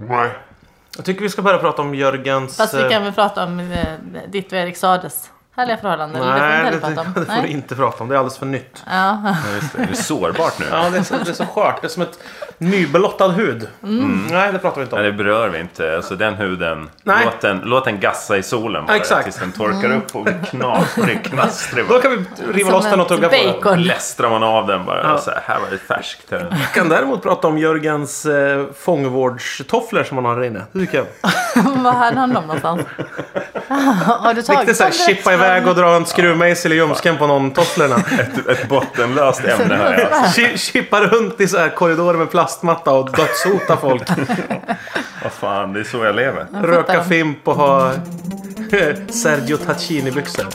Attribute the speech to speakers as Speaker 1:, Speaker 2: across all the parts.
Speaker 1: Nej.
Speaker 2: Jag tycker vi ska börja prata om Jörgens...
Speaker 3: Fast vi
Speaker 2: eh,
Speaker 3: kan väl prata om eh, ditt och Erik Sades härliga förhållande? eller?
Speaker 2: Nej, det,
Speaker 3: det får vi inte heller prata
Speaker 2: det
Speaker 3: om.
Speaker 2: får du inte prata om. Det är alldeles för nytt.
Speaker 3: Ja.
Speaker 1: Ja, just det. Är det sårbart nu?
Speaker 2: Ja, det är så, det är så skört. Det är som ett nyblottad hud.
Speaker 3: Mm.
Speaker 2: Mm. Nej, det pratar vi inte om.
Speaker 1: Nej, det berör vi inte. Alltså den huden.
Speaker 2: Nej.
Speaker 1: Låt den, låt den gassa i solen bara.
Speaker 2: Exakt.
Speaker 1: Tills den torkar upp och blir knaprig, knastrig.
Speaker 2: Då
Speaker 1: Bara.
Speaker 2: kan vi riva
Speaker 3: Som
Speaker 2: loss den och
Speaker 3: ett
Speaker 2: tugga på den.
Speaker 3: bacon. vi-
Speaker 1: Lästrar man av den bara.
Speaker 2: Ja.
Speaker 1: Så här, här var det färskt. Här.
Speaker 2: Vi kan däremot prata om Jörgens eh, fångvårdstofflor som han har där inne. Det tycker jag.
Speaker 3: Vad hade han dem någonstans? Har du tagit
Speaker 2: Riktigt såhär
Speaker 3: dem direkt
Speaker 2: chippa
Speaker 3: från-
Speaker 2: iväg och dra en skruvmejsel i ljumsken på någon tofflorna.
Speaker 1: Ett, ett bottenlöst ämne här. ja.
Speaker 2: Chi- Chippa runt i så här korridorer med plastmatta och dödshota folk.
Speaker 1: Vad fan, det är så jag lever.
Speaker 2: Röka fimp och ha Sergio Tacchini-byxor.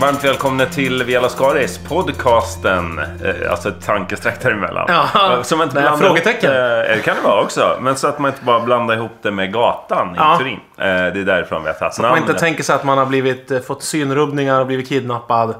Speaker 1: Varmt välkomna till Via Lascaris, podcasten. Eh, alltså ett tankestreck däremellan.
Speaker 2: Ja.
Speaker 1: Så man inte
Speaker 2: Nej,
Speaker 1: blandar
Speaker 2: frågetecken.
Speaker 1: ihop Det, eh, det kan det vara också. Men så att man inte bara blandar ihop det med gatan i
Speaker 2: Ja.
Speaker 1: Turin. Eh, det är därifrån vi har tagit
Speaker 2: Man
Speaker 1: namnet.
Speaker 2: inte tänker sig att man har blivit, eh, fått synrubbningar och blivit kidnappad.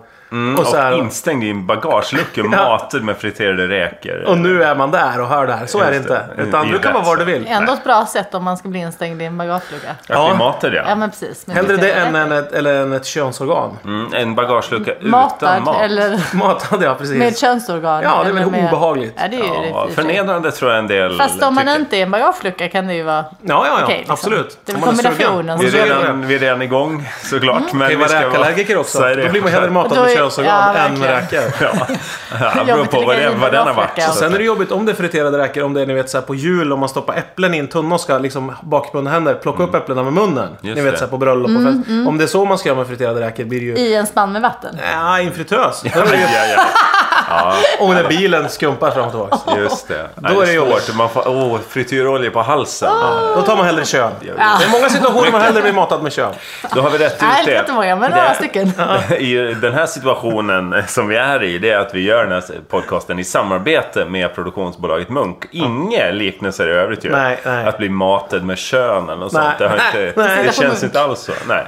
Speaker 2: och, så här,
Speaker 1: Mm, Och instängd i en bagagelucka matad med friterade räkor.
Speaker 2: och nu är man där och hör det här. Så är det
Speaker 1: Just
Speaker 2: inte.
Speaker 1: det.
Speaker 2: Utan
Speaker 1: Det är
Speaker 2: du kan
Speaker 1: rätt
Speaker 2: vara var du
Speaker 1: så.
Speaker 2: vill.
Speaker 3: Ändå ett bra sätt om man ska bli instängd i en bagagelucka.
Speaker 1: Ja,
Speaker 2: Ja.
Speaker 1: vi matade det.
Speaker 3: Ja men precis. Men
Speaker 2: Hellre
Speaker 3: tycker
Speaker 2: det
Speaker 3: jag
Speaker 2: än, eh, än, ett, eller än ett könsorgan.
Speaker 1: Mm, en bagagelucka utan
Speaker 3: Matad
Speaker 1: mat.
Speaker 3: eller
Speaker 2: Matade jag
Speaker 3: med ett
Speaker 2: precis.
Speaker 3: könsorgan.
Speaker 2: Ja, det är
Speaker 3: eller
Speaker 2: väl
Speaker 3: med-
Speaker 2: obehagligt.
Speaker 3: Ja, det är ju det i och
Speaker 1: Ja,
Speaker 3: för sig.
Speaker 1: förnedrande tror jag en del
Speaker 3: Fast om man
Speaker 1: tycker.
Speaker 3: inte är i en bagagelucka kan det ju vara
Speaker 2: Ja, ja, ja.
Speaker 3: okej. liksom.
Speaker 2: Absolut.
Speaker 3: Det är
Speaker 2: Om
Speaker 3: väl
Speaker 2: man är sugen.
Speaker 3: kombinationen
Speaker 1: Vi
Speaker 2: Och
Speaker 3: som
Speaker 1: är,
Speaker 2: så är det.
Speaker 1: redan, vi är redan igång såklart. Men
Speaker 2: Kan ju
Speaker 1: vi ska
Speaker 2: vara räkallergiker också.
Speaker 1: Så är det.
Speaker 2: Då blir man hellre matad
Speaker 3: Då
Speaker 2: med
Speaker 3: är-
Speaker 2: könsorgan
Speaker 3: ja,
Speaker 2: än med
Speaker 3: verkligen.
Speaker 2: räkor.
Speaker 1: Ja, det beror
Speaker 3: Jobbigt
Speaker 1: på
Speaker 3: att
Speaker 1: vad,
Speaker 3: ligga
Speaker 1: det,
Speaker 3: i
Speaker 1: vad den har varit.
Speaker 3: bagageluckan.
Speaker 1: så
Speaker 2: Sen är
Speaker 1: att-
Speaker 2: det jobbigt om det är friterade räkor, om det är ni vet, så här, på jul, om man stoppar äpplen i en tunna och ska liksom, bakbundna händer plocka upp äpplena med munnen.
Speaker 1: Mm. Just
Speaker 2: ni vet
Speaker 1: det.
Speaker 2: så här, på bröllop och fest. Om det är så man ska göra med friterade räkor blir det ju...
Speaker 3: I en spann med vatten.
Speaker 2: Ja, i en fritös. Då är det
Speaker 1: Aj,
Speaker 2: ju-
Speaker 1: aj, aj.
Speaker 2: Och när bilen skumpar fram och tillbaks.
Speaker 1: Just det. Då
Speaker 2: Då är
Speaker 1: är
Speaker 2: det
Speaker 1: det
Speaker 2: jobbigt.
Speaker 1: svårt. Man får oh, frityrolja på halsen.
Speaker 2: Då tar man hellre kön. Det är många situationer man hellre blir matad med kön.
Speaker 1: Då har vi rätt
Speaker 3: Nej,
Speaker 1: ut
Speaker 3: det är inte
Speaker 1: det.
Speaker 3: många, men några stycken.
Speaker 1: I den här situationen som vi är i, det är att vi gör den här podcasten i samarbete med produktionsbolaget Munk. Inga liknelser i övrigt ju.
Speaker 2: Nej, nej.
Speaker 1: Att bli matad med könen och sånt. Det, har
Speaker 2: Nej,
Speaker 1: inte,
Speaker 2: nej.
Speaker 1: det
Speaker 3: Titta på
Speaker 1: känns
Speaker 3: Munk.
Speaker 1: inte alls så. Nej.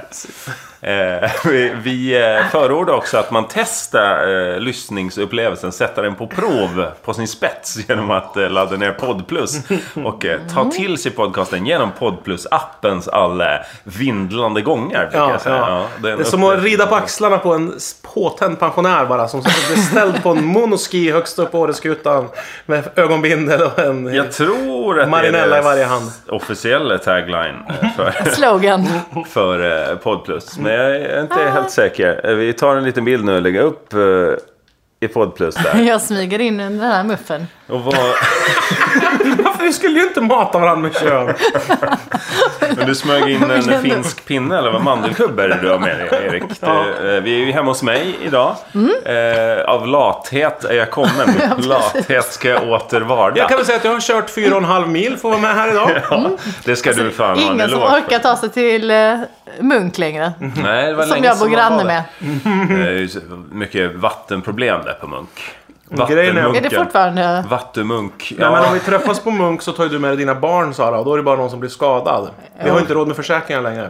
Speaker 1: Eh, vi- vi eh, förordar också att man testar eh, lyssningsupplevelsen, sätter den på prov på sin spets genom att eh, ladda ner Podplus och eh, ta
Speaker 2: Mm.
Speaker 1: till sig podcasten genom Podplus-appens alla vindlande gångar. brukar
Speaker 2: Ja,
Speaker 1: jag säga.
Speaker 2: ja.
Speaker 1: Ja,
Speaker 2: Det
Speaker 1: en
Speaker 2: är som att
Speaker 1: upplevelse.
Speaker 2: rida på axlarna på en s- påtänd pensionär bara. Som sitter beställd på en monoski högst upp på Åreskutan. Med ögonbindel och en...
Speaker 1: Jag tror att
Speaker 2: Marinella
Speaker 1: det
Speaker 2: i
Speaker 1: är deras
Speaker 2: varje hand.
Speaker 1: officiella tagline eh, för,
Speaker 3: Slogan.
Speaker 1: för eh, Podplus. Men jag är inte helt säker. Eh, Vi tar en liten bild nu och lägger upp eh, i Podplus där.
Speaker 3: Jag smyger in under den här muffen.
Speaker 1: Och vad...
Speaker 2: Varför? Vi skulle ju inte mata varandra med kön.
Speaker 1: Men du smög in
Speaker 3: Jag
Speaker 1: en
Speaker 3: kände-
Speaker 1: finsk pinne eller vad mandelkubb är det du har med dig Erik? Du, eh, Vi är ju hemma hos mig idag.
Speaker 3: Mm.
Speaker 1: Eh, av lathet är jag kommen. Lathet ska jag åter varda.
Speaker 2: Jag kan väl säga att jag har kört 4,5 mil för att vara med här idag.
Speaker 1: Ja, det ska du fan ha en
Speaker 3: Alltså, Ingen som
Speaker 1: eloge för.
Speaker 3: orkar ta sig till eh, Munk längre.
Speaker 2: Mm.
Speaker 1: Nej, det var
Speaker 3: Som
Speaker 1: länge
Speaker 3: jag bor
Speaker 1: sedan man var
Speaker 3: granne
Speaker 1: där.
Speaker 3: med.
Speaker 1: Eh, Det är ju så mycket vattenproblem där på Munk.
Speaker 2: Mm. Grejen är-
Speaker 3: Är det fortfarande...
Speaker 1: Vattumunk.
Speaker 2: Nej, men om
Speaker 1: Ja.
Speaker 2: vi träffas på Munk så tar ju du med dig dina barn Sara och då är det bara någon som blir skadad. Vi har ju inte råd med försäkringar längre.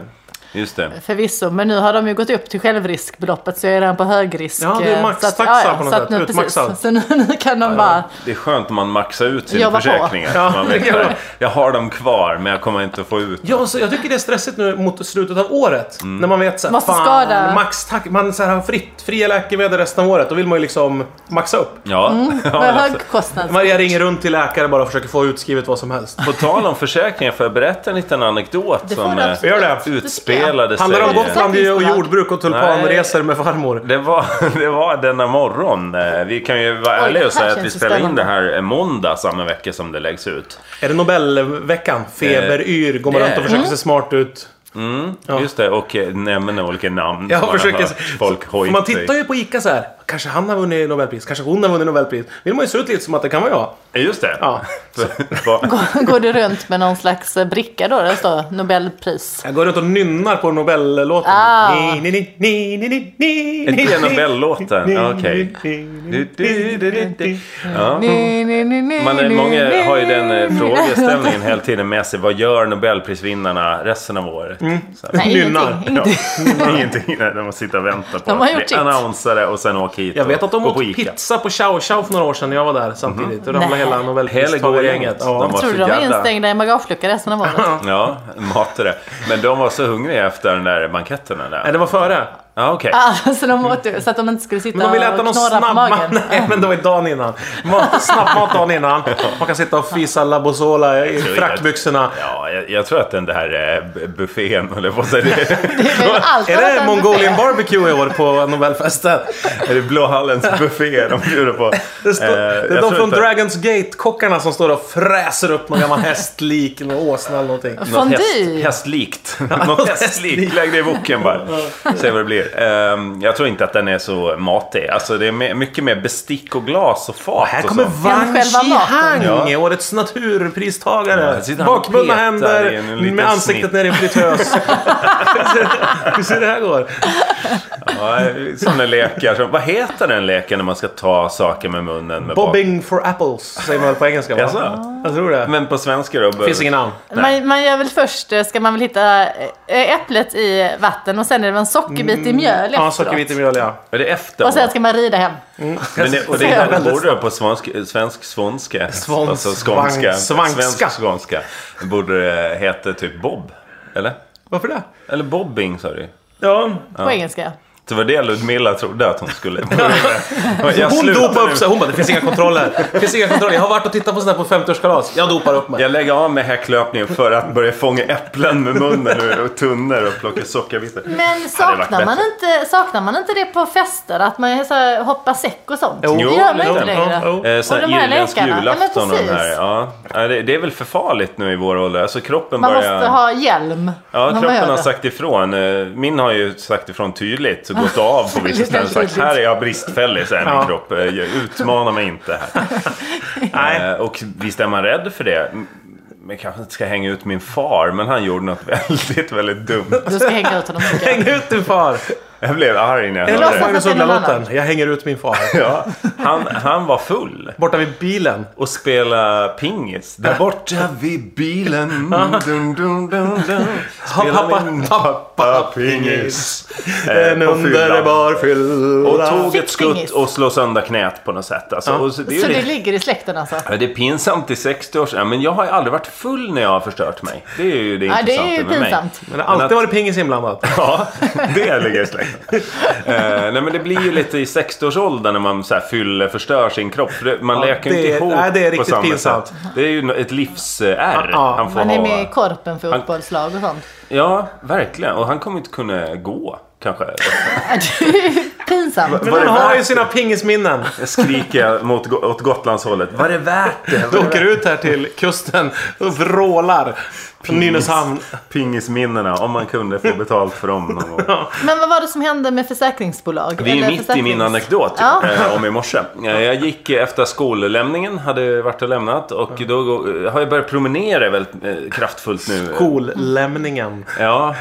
Speaker 1: Just det.
Speaker 3: Förvisso, men nu har de ju gått upp till självriskbeloppet så jag är redan på högrisk.
Speaker 2: Ja, det är
Speaker 3: eh,
Speaker 2: maxtaxa
Speaker 3: så att-
Speaker 2: på något
Speaker 3: så att
Speaker 2: sätt,
Speaker 3: Nu,
Speaker 2: utmaxad.
Speaker 3: precis. Så nu, nu kan de bara...
Speaker 1: Det är skönt om man maxar ut sina
Speaker 3: Jobba på.
Speaker 1: försäkringar.
Speaker 2: Ja,
Speaker 1: man
Speaker 2: det
Speaker 1: vet,
Speaker 2: gör
Speaker 1: så här,
Speaker 2: man.
Speaker 1: jag har dem kvar men jag kommer inte att få ut
Speaker 2: Ja, så jag tycker det är stressigt nu mot slutet av året. När man vet såhär,
Speaker 3: Måste skada.
Speaker 2: max tack, man så här, har fritt, fria läkemedel resten av året. Då vill man ju liksom maxa upp.
Speaker 1: Ja. ja
Speaker 3: Mm. Vad
Speaker 1: men alltså,
Speaker 3: hög kostnad.
Speaker 2: Maria ringer runt till läkare bara och försöker få utskrivet vad som helst.
Speaker 1: På tal om försäkringar, får jag berätta en liten anekdot
Speaker 3: Det får
Speaker 1: som
Speaker 3: du
Speaker 1: eh,
Speaker 3: absolut.
Speaker 2: Gör det.
Speaker 1: utspelade sig?
Speaker 2: Handlar det om
Speaker 3: Säger-
Speaker 2: Gotland och jordbruk och tulpanresor med farmor?
Speaker 1: Det var, det var denna morgon. Eh, Vi kan ju vara
Speaker 3: Oj,
Speaker 1: ärliga
Speaker 3: det
Speaker 1: och säga
Speaker 3: här
Speaker 1: att vi
Speaker 3: känns ju
Speaker 1: spelar in det
Speaker 3: spännande.
Speaker 1: här eh, måndag samma vecka som det läggs ut.
Speaker 2: Är det Nobelveckan? Feber, yr, går man
Speaker 1: det
Speaker 2: runt
Speaker 1: är
Speaker 2: och
Speaker 1: det.
Speaker 2: försöker se smart ut?
Speaker 1: Just det, och eh, nämner olika namn
Speaker 2: Jag
Speaker 1: som man har
Speaker 2: försöker...
Speaker 1: hört folk
Speaker 2: För
Speaker 1: hojta
Speaker 2: man
Speaker 1: i.
Speaker 2: tittar ju på ICA så här. Kanske han har vunnit Nobelpris, kanske hon har vunnit Nobelpris. vill man ju se ut lite som att det kan vara jag.
Speaker 1: Ja, Just det.
Speaker 2: Ja.
Speaker 1: För- vad-
Speaker 3: Går du runt med någon slags eh, bricka då? Där står Nobelpris.
Speaker 2: Jag går runt och nynnar på Nobellåten.
Speaker 3: Ah.
Speaker 2: Ni, ni, ni, ni, ni, ni, ni,
Speaker 1: Är
Speaker 2: ni,
Speaker 1: det
Speaker 2: ni,
Speaker 1: Nobellåten?
Speaker 2: ni,
Speaker 1: Ja, Okej.
Speaker 2: ni, ni, ni,
Speaker 1: Du, du, du, du, du. Ja.
Speaker 2: Mm.
Speaker 3: Ni, ni, ni, ni,
Speaker 1: Man,
Speaker 3: ni, ni,
Speaker 1: många har ju den eh,
Speaker 3: ni.
Speaker 1: frågeställningen hela tiden med sig. Vad gör Nobelprisvinnarna resten av året?
Speaker 2: Mm.
Speaker 1: Så här,
Speaker 3: Nej,
Speaker 2: Nynnar.
Speaker 3: ingenting.
Speaker 1: Ja,
Speaker 3: ingenting.
Speaker 1: ingenting. Nej, De måste sitta och vänta på
Speaker 3: De har
Speaker 1: att
Speaker 3: gjort
Speaker 1: bli
Speaker 3: sitt.
Speaker 1: annonsare och sen åka hit
Speaker 2: Jag
Speaker 1: och
Speaker 2: vet att de
Speaker 1: gå på
Speaker 2: åt
Speaker 1: Ica.
Speaker 2: pizza på Chow Chow för några år sedan när jag var där samtidigt. Då ramlade
Speaker 3: Nej.
Speaker 2: hela Nobelpristagargänget.
Speaker 1: Hela
Speaker 2: Ja.
Speaker 1: de var
Speaker 3: Tror
Speaker 1: så
Speaker 3: du de var
Speaker 1: jävla-
Speaker 3: instängda i en bagagelucka resten av året?
Speaker 1: Ja, matade. Men de var så hungriga efter den där banketterna
Speaker 2: Nej,
Speaker 1: där.
Speaker 2: det var före.
Speaker 1: Ja, okej.
Speaker 3: Ah, så, de åt, ju- så att de inte skulle sitta
Speaker 2: Men de ville äta
Speaker 3: och
Speaker 2: någon
Speaker 3: knorra på
Speaker 2: snabbmat.
Speaker 3: magen.
Speaker 2: Nej, men det var ju dagen innan. Mat, snabbmat dagen innan. Man kan sitta och fisa Labozola i frackbyxorna.
Speaker 1: Ja, jag, jag tror att den där eh, b- buffén, eller vad säger du?
Speaker 3: Det är väl allt
Speaker 2: Är
Speaker 3: annat än
Speaker 2: det
Speaker 3: buffé.
Speaker 2: Mongolian barbecue i år på Nobelfesten?
Speaker 1: Är det Blåhallens buffé de bjuder på?
Speaker 2: Det, står,
Speaker 1: Eh,
Speaker 2: det
Speaker 1: jag
Speaker 2: är de
Speaker 1: tror
Speaker 2: från
Speaker 1: inte-
Speaker 2: Dragons Gate-kockarna som står och fräser upp någon gammal hästlik, eller åsna eller någonting.
Speaker 1: Något
Speaker 3: Fondue.
Speaker 1: häst, hästlikt. Något hästlikt. Lägg det i boken bara. Se vad det blir. Ehm, jag tror inte att den är så matig. Alltså det är me- mycket mer bestick och glas och fat
Speaker 2: Här
Speaker 1: och
Speaker 2: kommer
Speaker 1: sånt.
Speaker 2: Wang
Speaker 3: Själva maten.
Speaker 2: Qihang,
Speaker 1: Ja.
Speaker 2: årets
Speaker 1: Ja,
Speaker 2: naturpristagare.
Speaker 1: här sitter han och
Speaker 2: Bakbundna
Speaker 1: petar
Speaker 2: händer,
Speaker 1: i en liten
Speaker 2: med ansiktet
Speaker 1: snitt.
Speaker 2: nere i en fritös. Vi ser- Vi ser hur det här går.
Speaker 1: Ja, sådana lekar. Som, vad heter den leken när man ska ta saker med munnen? Med
Speaker 2: Bobbing for apples, säger man väl på engelska?
Speaker 1: Jaså?
Speaker 2: Va? Jag tror det.
Speaker 1: bak- Men på svenska då?
Speaker 2: Finns ingen namn.
Speaker 3: Man, man gör väl först, eh, ska man väl hitta eh, äpplet i vatten och sen är det väl Mm. en sockerbit i mjöl
Speaker 2: Ja,
Speaker 3: efteråt.
Speaker 2: sockerbit i mjöl, ja.
Speaker 1: Är det efter?
Speaker 3: Och sen ska man rida hem.
Speaker 1: Men det, och det
Speaker 3: Ser
Speaker 1: är
Speaker 3: väldigt
Speaker 1: borde det på svensk, svensk svånska.
Speaker 2: Svåns-
Speaker 1: alltså skånska.
Speaker 2: svank- svanska.
Speaker 1: Svensk skånska. Borde det heta typ Bob? Eller?
Speaker 2: Varför det?
Speaker 1: Eller Bobbing sa du
Speaker 2: Ja.
Speaker 3: På engelska.
Speaker 1: Det var det Ludmilla trodde att hon skulle Jag
Speaker 2: Hon
Speaker 1: slutar
Speaker 2: dopade
Speaker 1: nu.
Speaker 2: upp sig. Hon bara, det finns inga kontroller. Det finns inga kontroller. Jag har varit och tittat på sånt här på 50-årskalas. Jag dopar upp mig.
Speaker 1: Jag lägger av med häcklöpningen för att börja fånga äpplen med munnen nu och tunnor och plocka sockerbitar.
Speaker 3: Men
Speaker 1: varit
Speaker 3: saknar
Speaker 1: bättre.
Speaker 3: man, inte, saknar man inte det på fester? Att man är så här, hoppar säck och sånt?
Speaker 2: Jo,
Speaker 3: det gör man
Speaker 1: jo,
Speaker 3: inte
Speaker 1: jo,
Speaker 3: längre.
Speaker 2: jo, jo.
Speaker 1: Eh, sån
Speaker 3: Och
Speaker 1: här
Speaker 3: de här
Speaker 1: irländsk
Speaker 3: lekarna. Ja, men
Speaker 1: julafton och de här.
Speaker 3: precis.
Speaker 1: Ja. Ja, det, det är väl för farligt nu i vår ålder. Alltså kroppen
Speaker 3: Man
Speaker 1: börjar...
Speaker 3: måste ha hjälm. när
Speaker 1: Ja,
Speaker 3: man gör
Speaker 1: kroppen har
Speaker 3: det.
Speaker 1: sagt ifrån. Eh, Min har ju sagt ifrån tydligt och gått av på vissa
Speaker 3: Väldigt
Speaker 1: ställen. Sagt
Speaker 3: tydligt.
Speaker 1: här är jag bristfällig, säger min
Speaker 2: Ja.
Speaker 1: kropp. Eh, Utmana mig inte här.
Speaker 2: Nej.
Speaker 1: Eh, Och visst är man rädd för det. M- Men kanske inte ska hänga ut min far, men han gjorde något väldigt, väldigt dumt.
Speaker 3: Du ska hänga ut honom. tycker jag.
Speaker 2: Häng ut din far!
Speaker 1: Jag blev arg när jag
Speaker 2: Eller
Speaker 1: hörde
Speaker 3: låtsas
Speaker 1: det.
Speaker 2: Magnus
Speaker 3: att det är någon
Speaker 2: Uggla-låten. Jag hänger ut min far.
Speaker 1: Ja, han, han var full
Speaker 2: Borta vid bilen.
Speaker 1: och spelade pingis. Där borta vid bilen. Dun, dun, dun, dun. Spelade
Speaker 2: pappa-
Speaker 1: min
Speaker 2: pappa
Speaker 1: Eh,
Speaker 2: En
Speaker 1: på fyllan.
Speaker 2: underbar fylla.
Speaker 1: Och tog ett
Speaker 3: Fick
Speaker 1: skutt
Speaker 3: pingis.
Speaker 1: och slog sönder knät på något sätt. Alltså. Och så, det är
Speaker 3: Så
Speaker 1: ju
Speaker 3: det
Speaker 1: det,
Speaker 3: ligger i släkten alltså?
Speaker 1: Ja, det är pinsamt i 60 år sedan. Men jag har ju aldrig varit full när jag har förstört mig. Det är ju det
Speaker 3: Ja, det
Speaker 1: intressanta
Speaker 3: är ju
Speaker 1: med mig.
Speaker 3: pinsamt.
Speaker 2: Men det har alltid varit pingis inblandat.
Speaker 1: Ja, det ligger i släkten. Eh, nej men det blir ju lite i 60-årsåldern när man så här fyller, förstör sin kropp. För det, man
Speaker 2: Ja,
Speaker 1: leker ju
Speaker 2: det
Speaker 1: inte
Speaker 2: är-
Speaker 1: ihop
Speaker 2: nej, det
Speaker 1: på
Speaker 2: är riktigt
Speaker 1: samma
Speaker 2: pinsamt.
Speaker 1: sätt. Det är ju ett livsärr
Speaker 2: Ja,
Speaker 1: han får
Speaker 3: Man
Speaker 1: ha.
Speaker 3: är med i korpen för fotbollslag och sånt.
Speaker 1: Ja, verkligen. Och han kommer inte kunna gå, kanske.
Speaker 3: Det är ju pinsamt.
Speaker 2: Men
Speaker 1: Var det
Speaker 2: han har
Speaker 1: värt
Speaker 2: ju sina pingisminnen.
Speaker 1: Skriker jag mot, åt Gotlandshållet. Var det värt det?
Speaker 2: Du åker ut här till kusten och vrålar. Från Nynäshamn.
Speaker 1: Pingisminnena, om man kunde få betalt för dem någon gång.
Speaker 3: Men vad var det som hände med försäkringsbolag?
Speaker 1: Vi
Speaker 3: Eller
Speaker 1: är mitt i min
Speaker 3: försäkrings-
Speaker 1: anekdot
Speaker 3: Ja.
Speaker 1: eh, om i morse. Eh, Jag gick eh, efter skollämningen, hade varit och lämnat och
Speaker 2: Mm.
Speaker 1: då går- har jag börjat promenera väldigt eh, kraftfullt nu.
Speaker 2: Kollämningen.
Speaker 1: Ja,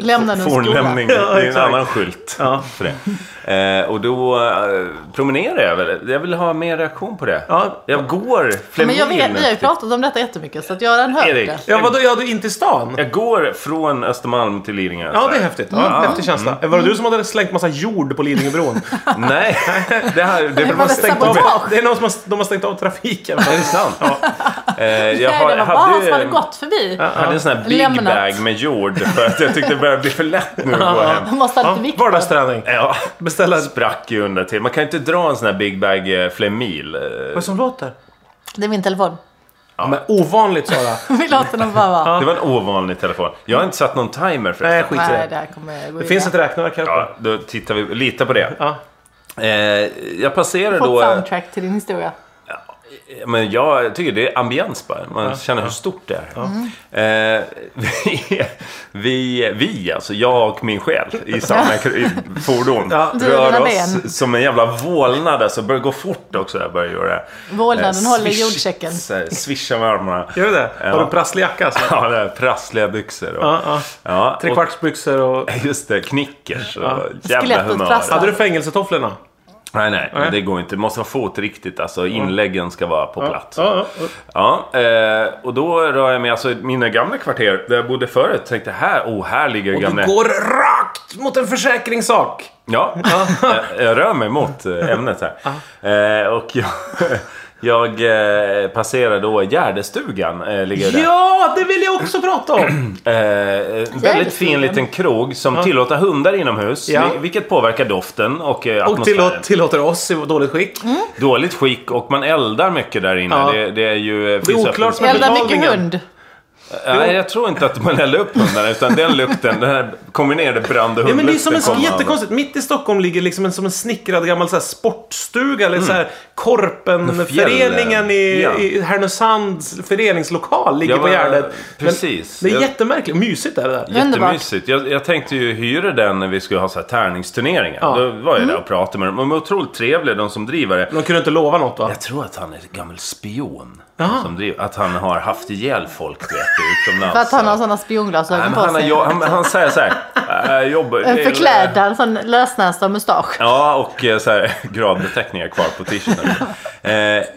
Speaker 3: Lämnar du en skola?
Speaker 1: fornlämning. Det
Speaker 2: Ja,
Speaker 1: är en
Speaker 2: exakt.
Speaker 1: annan skylt
Speaker 2: Ja.
Speaker 1: för det. Eh, och då eh, promenerar jag väl. Jag vill ha mer reaktion på det.
Speaker 2: Ja.
Speaker 1: Jag går
Speaker 3: Men jag vet, vi har ju
Speaker 1: Flemil.
Speaker 3: pratat om detta jättemycket så att Göran hört
Speaker 1: Erik.
Speaker 3: det.
Speaker 2: Ja, vadå? Ja, du är inte i stan?
Speaker 1: Jag går från Östermalm till Lidingö.
Speaker 2: Ja, det är häftigt. Ja, Häftig känsla. Var det du som hade slängt massa jord på Lidingöbron?
Speaker 1: Nej, det här... Det,
Speaker 3: var
Speaker 1: var
Speaker 3: väl
Speaker 1: stängt av.
Speaker 3: sabotage.
Speaker 2: det är någon som har, de har stängt av trafiken.
Speaker 1: Är det sant? Eh, jag
Speaker 3: Nej,
Speaker 1: har,
Speaker 3: det var bara han
Speaker 1: hade,
Speaker 3: som hade gått förbi.
Speaker 1: hade en sån här big
Speaker 3: Lämnat.
Speaker 1: bag med jord för att jag tyckte det började bli för lätt nu att gå hem.
Speaker 3: Han måste ha
Speaker 2: Ja,
Speaker 3: lite vikt.
Speaker 2: vardagsträning.
Speaker 1: Ja,
Speaker 2: Beställa... Vad
Speaker 1: sprack ju under till. Man kan ju inte dra en sån här big bag eh, flemil. eh.
Speaker 2: är det som låter?
Speaker 3: Det är min telefon.
Speaker 2: Men ovanligt Sara.
Speaker 3: Vi låter den bara vara.
Speaker 1: Det var en ovanlig telefon. Jag har inte satt någon timer
Speaker 2: Nej,
Speaker 1: förresten.
Speaker 2: skit i
Speaker 3: Nej, det
Speaker 2: det.
Speaker 3: här kommer gå
Speaker 2: Det finns ett
Speaker 3: illa.
Speaker 2: räkneverk här uppe.
Speaker 1: Ja, då tittar vi. Lita på det.
Speaker 2: Ja.
Speaker 1: Eh, jag passerar
Speaker 3: Fått
Speaker 1: då...
Speaker 3: soundtrack till din historia.
Speaker 1: Men jag tycker det är ambiens bara. Man känner hur stort det är. Eh, vi, vi, vi, alltså jag och min själ i samma kr- i fordon
Speaker 2: Ja.
Speaker 3: Du och
Speaker 1: rör
Speaker 3: dina
Speaker 1: oss
Speaker 3: ben.
Speaker 1: som en jävla vålnad. Alltså, börjar gå fort också. Jag börjar göra. Eh,
Speaker 3: Vålnaden håller
Speaker 1: swish-
Speaker 3: jordsäcken.
Speaker 1: så här, Swisha med armarna.
Speaker 2: Gör du det? Har
Speaker 1: Ja.
Speaker 2: du prasslig jacka? Så?
Speaker 1: Ja, det här, prassliga byxor. Och,
Speaker 2: Ja, ja.
Speaker 1: ja, och,
Speaker 2: Trekvartsbyxor och...
Speaker 1: just det, knickers och
Speaker 2: Ja.
Speaker 1: jävla
Speaker 3: Skelettet
Speaker 1: humör.
Speaker 3: prasslar.
Speaker 2: Hade du fängelsetofflorna?
Speaker 1: Nej, nej,
Speaker 2: Nej.
Speaker 1: det går inte. Det måste vara fotriktigt. Alltså inläggen ska vara på plats.
Speaker 2: Ja, ja.
Speaker 1: Ja, eh, och då rör jag mig, alltså mina gamla kvarter där jag bodde förut, tänkte här, oh här ligger
Speaker 2: Och
Speaker 1: gamla...
Speaker 2: du går rakt mot en försäkringssak!
Speaker 1: Ja, jag, jag rör mig mot eh, ämnet här. Eh, och jag, jag eh, passerar då Gärdestugan, eh, ligger där.
Speaker 2: Ja, det vill jag också prata om!
Speaker 1: Eh, väldigt fin
Speaker 3: Gärdestugan.
Speaker 1: liten krog som tillåter hundar inomhus,
Speaker 2: Ja.
Speaker 1: vil- vilket påverkar doften och eh,
Speaker 2: Och
Speaker 1: atmosfären.
Speaker 2: tillå- tillåter oss i dåligt skick.
Speaker 1: Dåligt skick och man eldar mycket där inne.
Speaker 2: Ja.
Speaker 1: Det, det är ju... eh,
Speaker 2: Det är
Speaker 1: finns
Speaker 2: oklart
Speaker 1: öppningsfall.
Speaker 2: med
Speaker 3: Elda mycket
Speaker 2: betalningen.
Speaker 3: hund.
Speaker 1: Nej, jag tror inte att man eldar upp hundarna. Utan den lukten, den här kombinerade brand och
Speaker 2: Ja,
Speaker 1: hundlukten
Speaker 2: men det är som en så
Speaker 1: kommer av den.
Speaker 2: jättekonstigt. Mitt i Stockholm ligger liksom en, som en snickrad gammal så här, sportstuga eller så här Korpenföreningen i,
Speaker 1: Mm. Ja.
Speaker 2: i Härnösands föreningslokal ligger
Speaker 1: Ja,
Speaker 2: på
Speaker 1: men,
Speaker 2: Gärdet.
Speaker 1: precis.
Speaker 2: Men, det är
Speaker 1: Jag-
Speaker 2: jättemärkligt. Mysigt är det där.
Speaker 1: Jättemysigt. Jag, jag tänkte ju hyra den när vi skulle ha så här tärningsturneringar.
Speaker 2: Ja. Mm.
Speaker 1: Då var jag där och pratade med dem. De är otroligt trevliga, de som driver det.
Speaker 2: De kunde inte lova något va?
Speaker 1: Jag tror att han är en gammal spion.
Speaker 2: Jaha.
Speaker 1: Som driver, att han har haft ihjäl folk vet du, utomlands.
Speaker 3: För att han har
Speaker 1: Nej,
Speaker 3: sådana spionglasögon
Speaker 1: men
Speaker 3: på
Speaker 1: han, har,
Speaker 3: sig.
Speaker 1: jo- han, han säger så här. Äh, jobbar,
Speaker 3: En förklädnad, sån lösnästa och mustasch.
Speaker 1: Ja, och eh, så här, gradbeteckningar kvar på t-shirten. eh,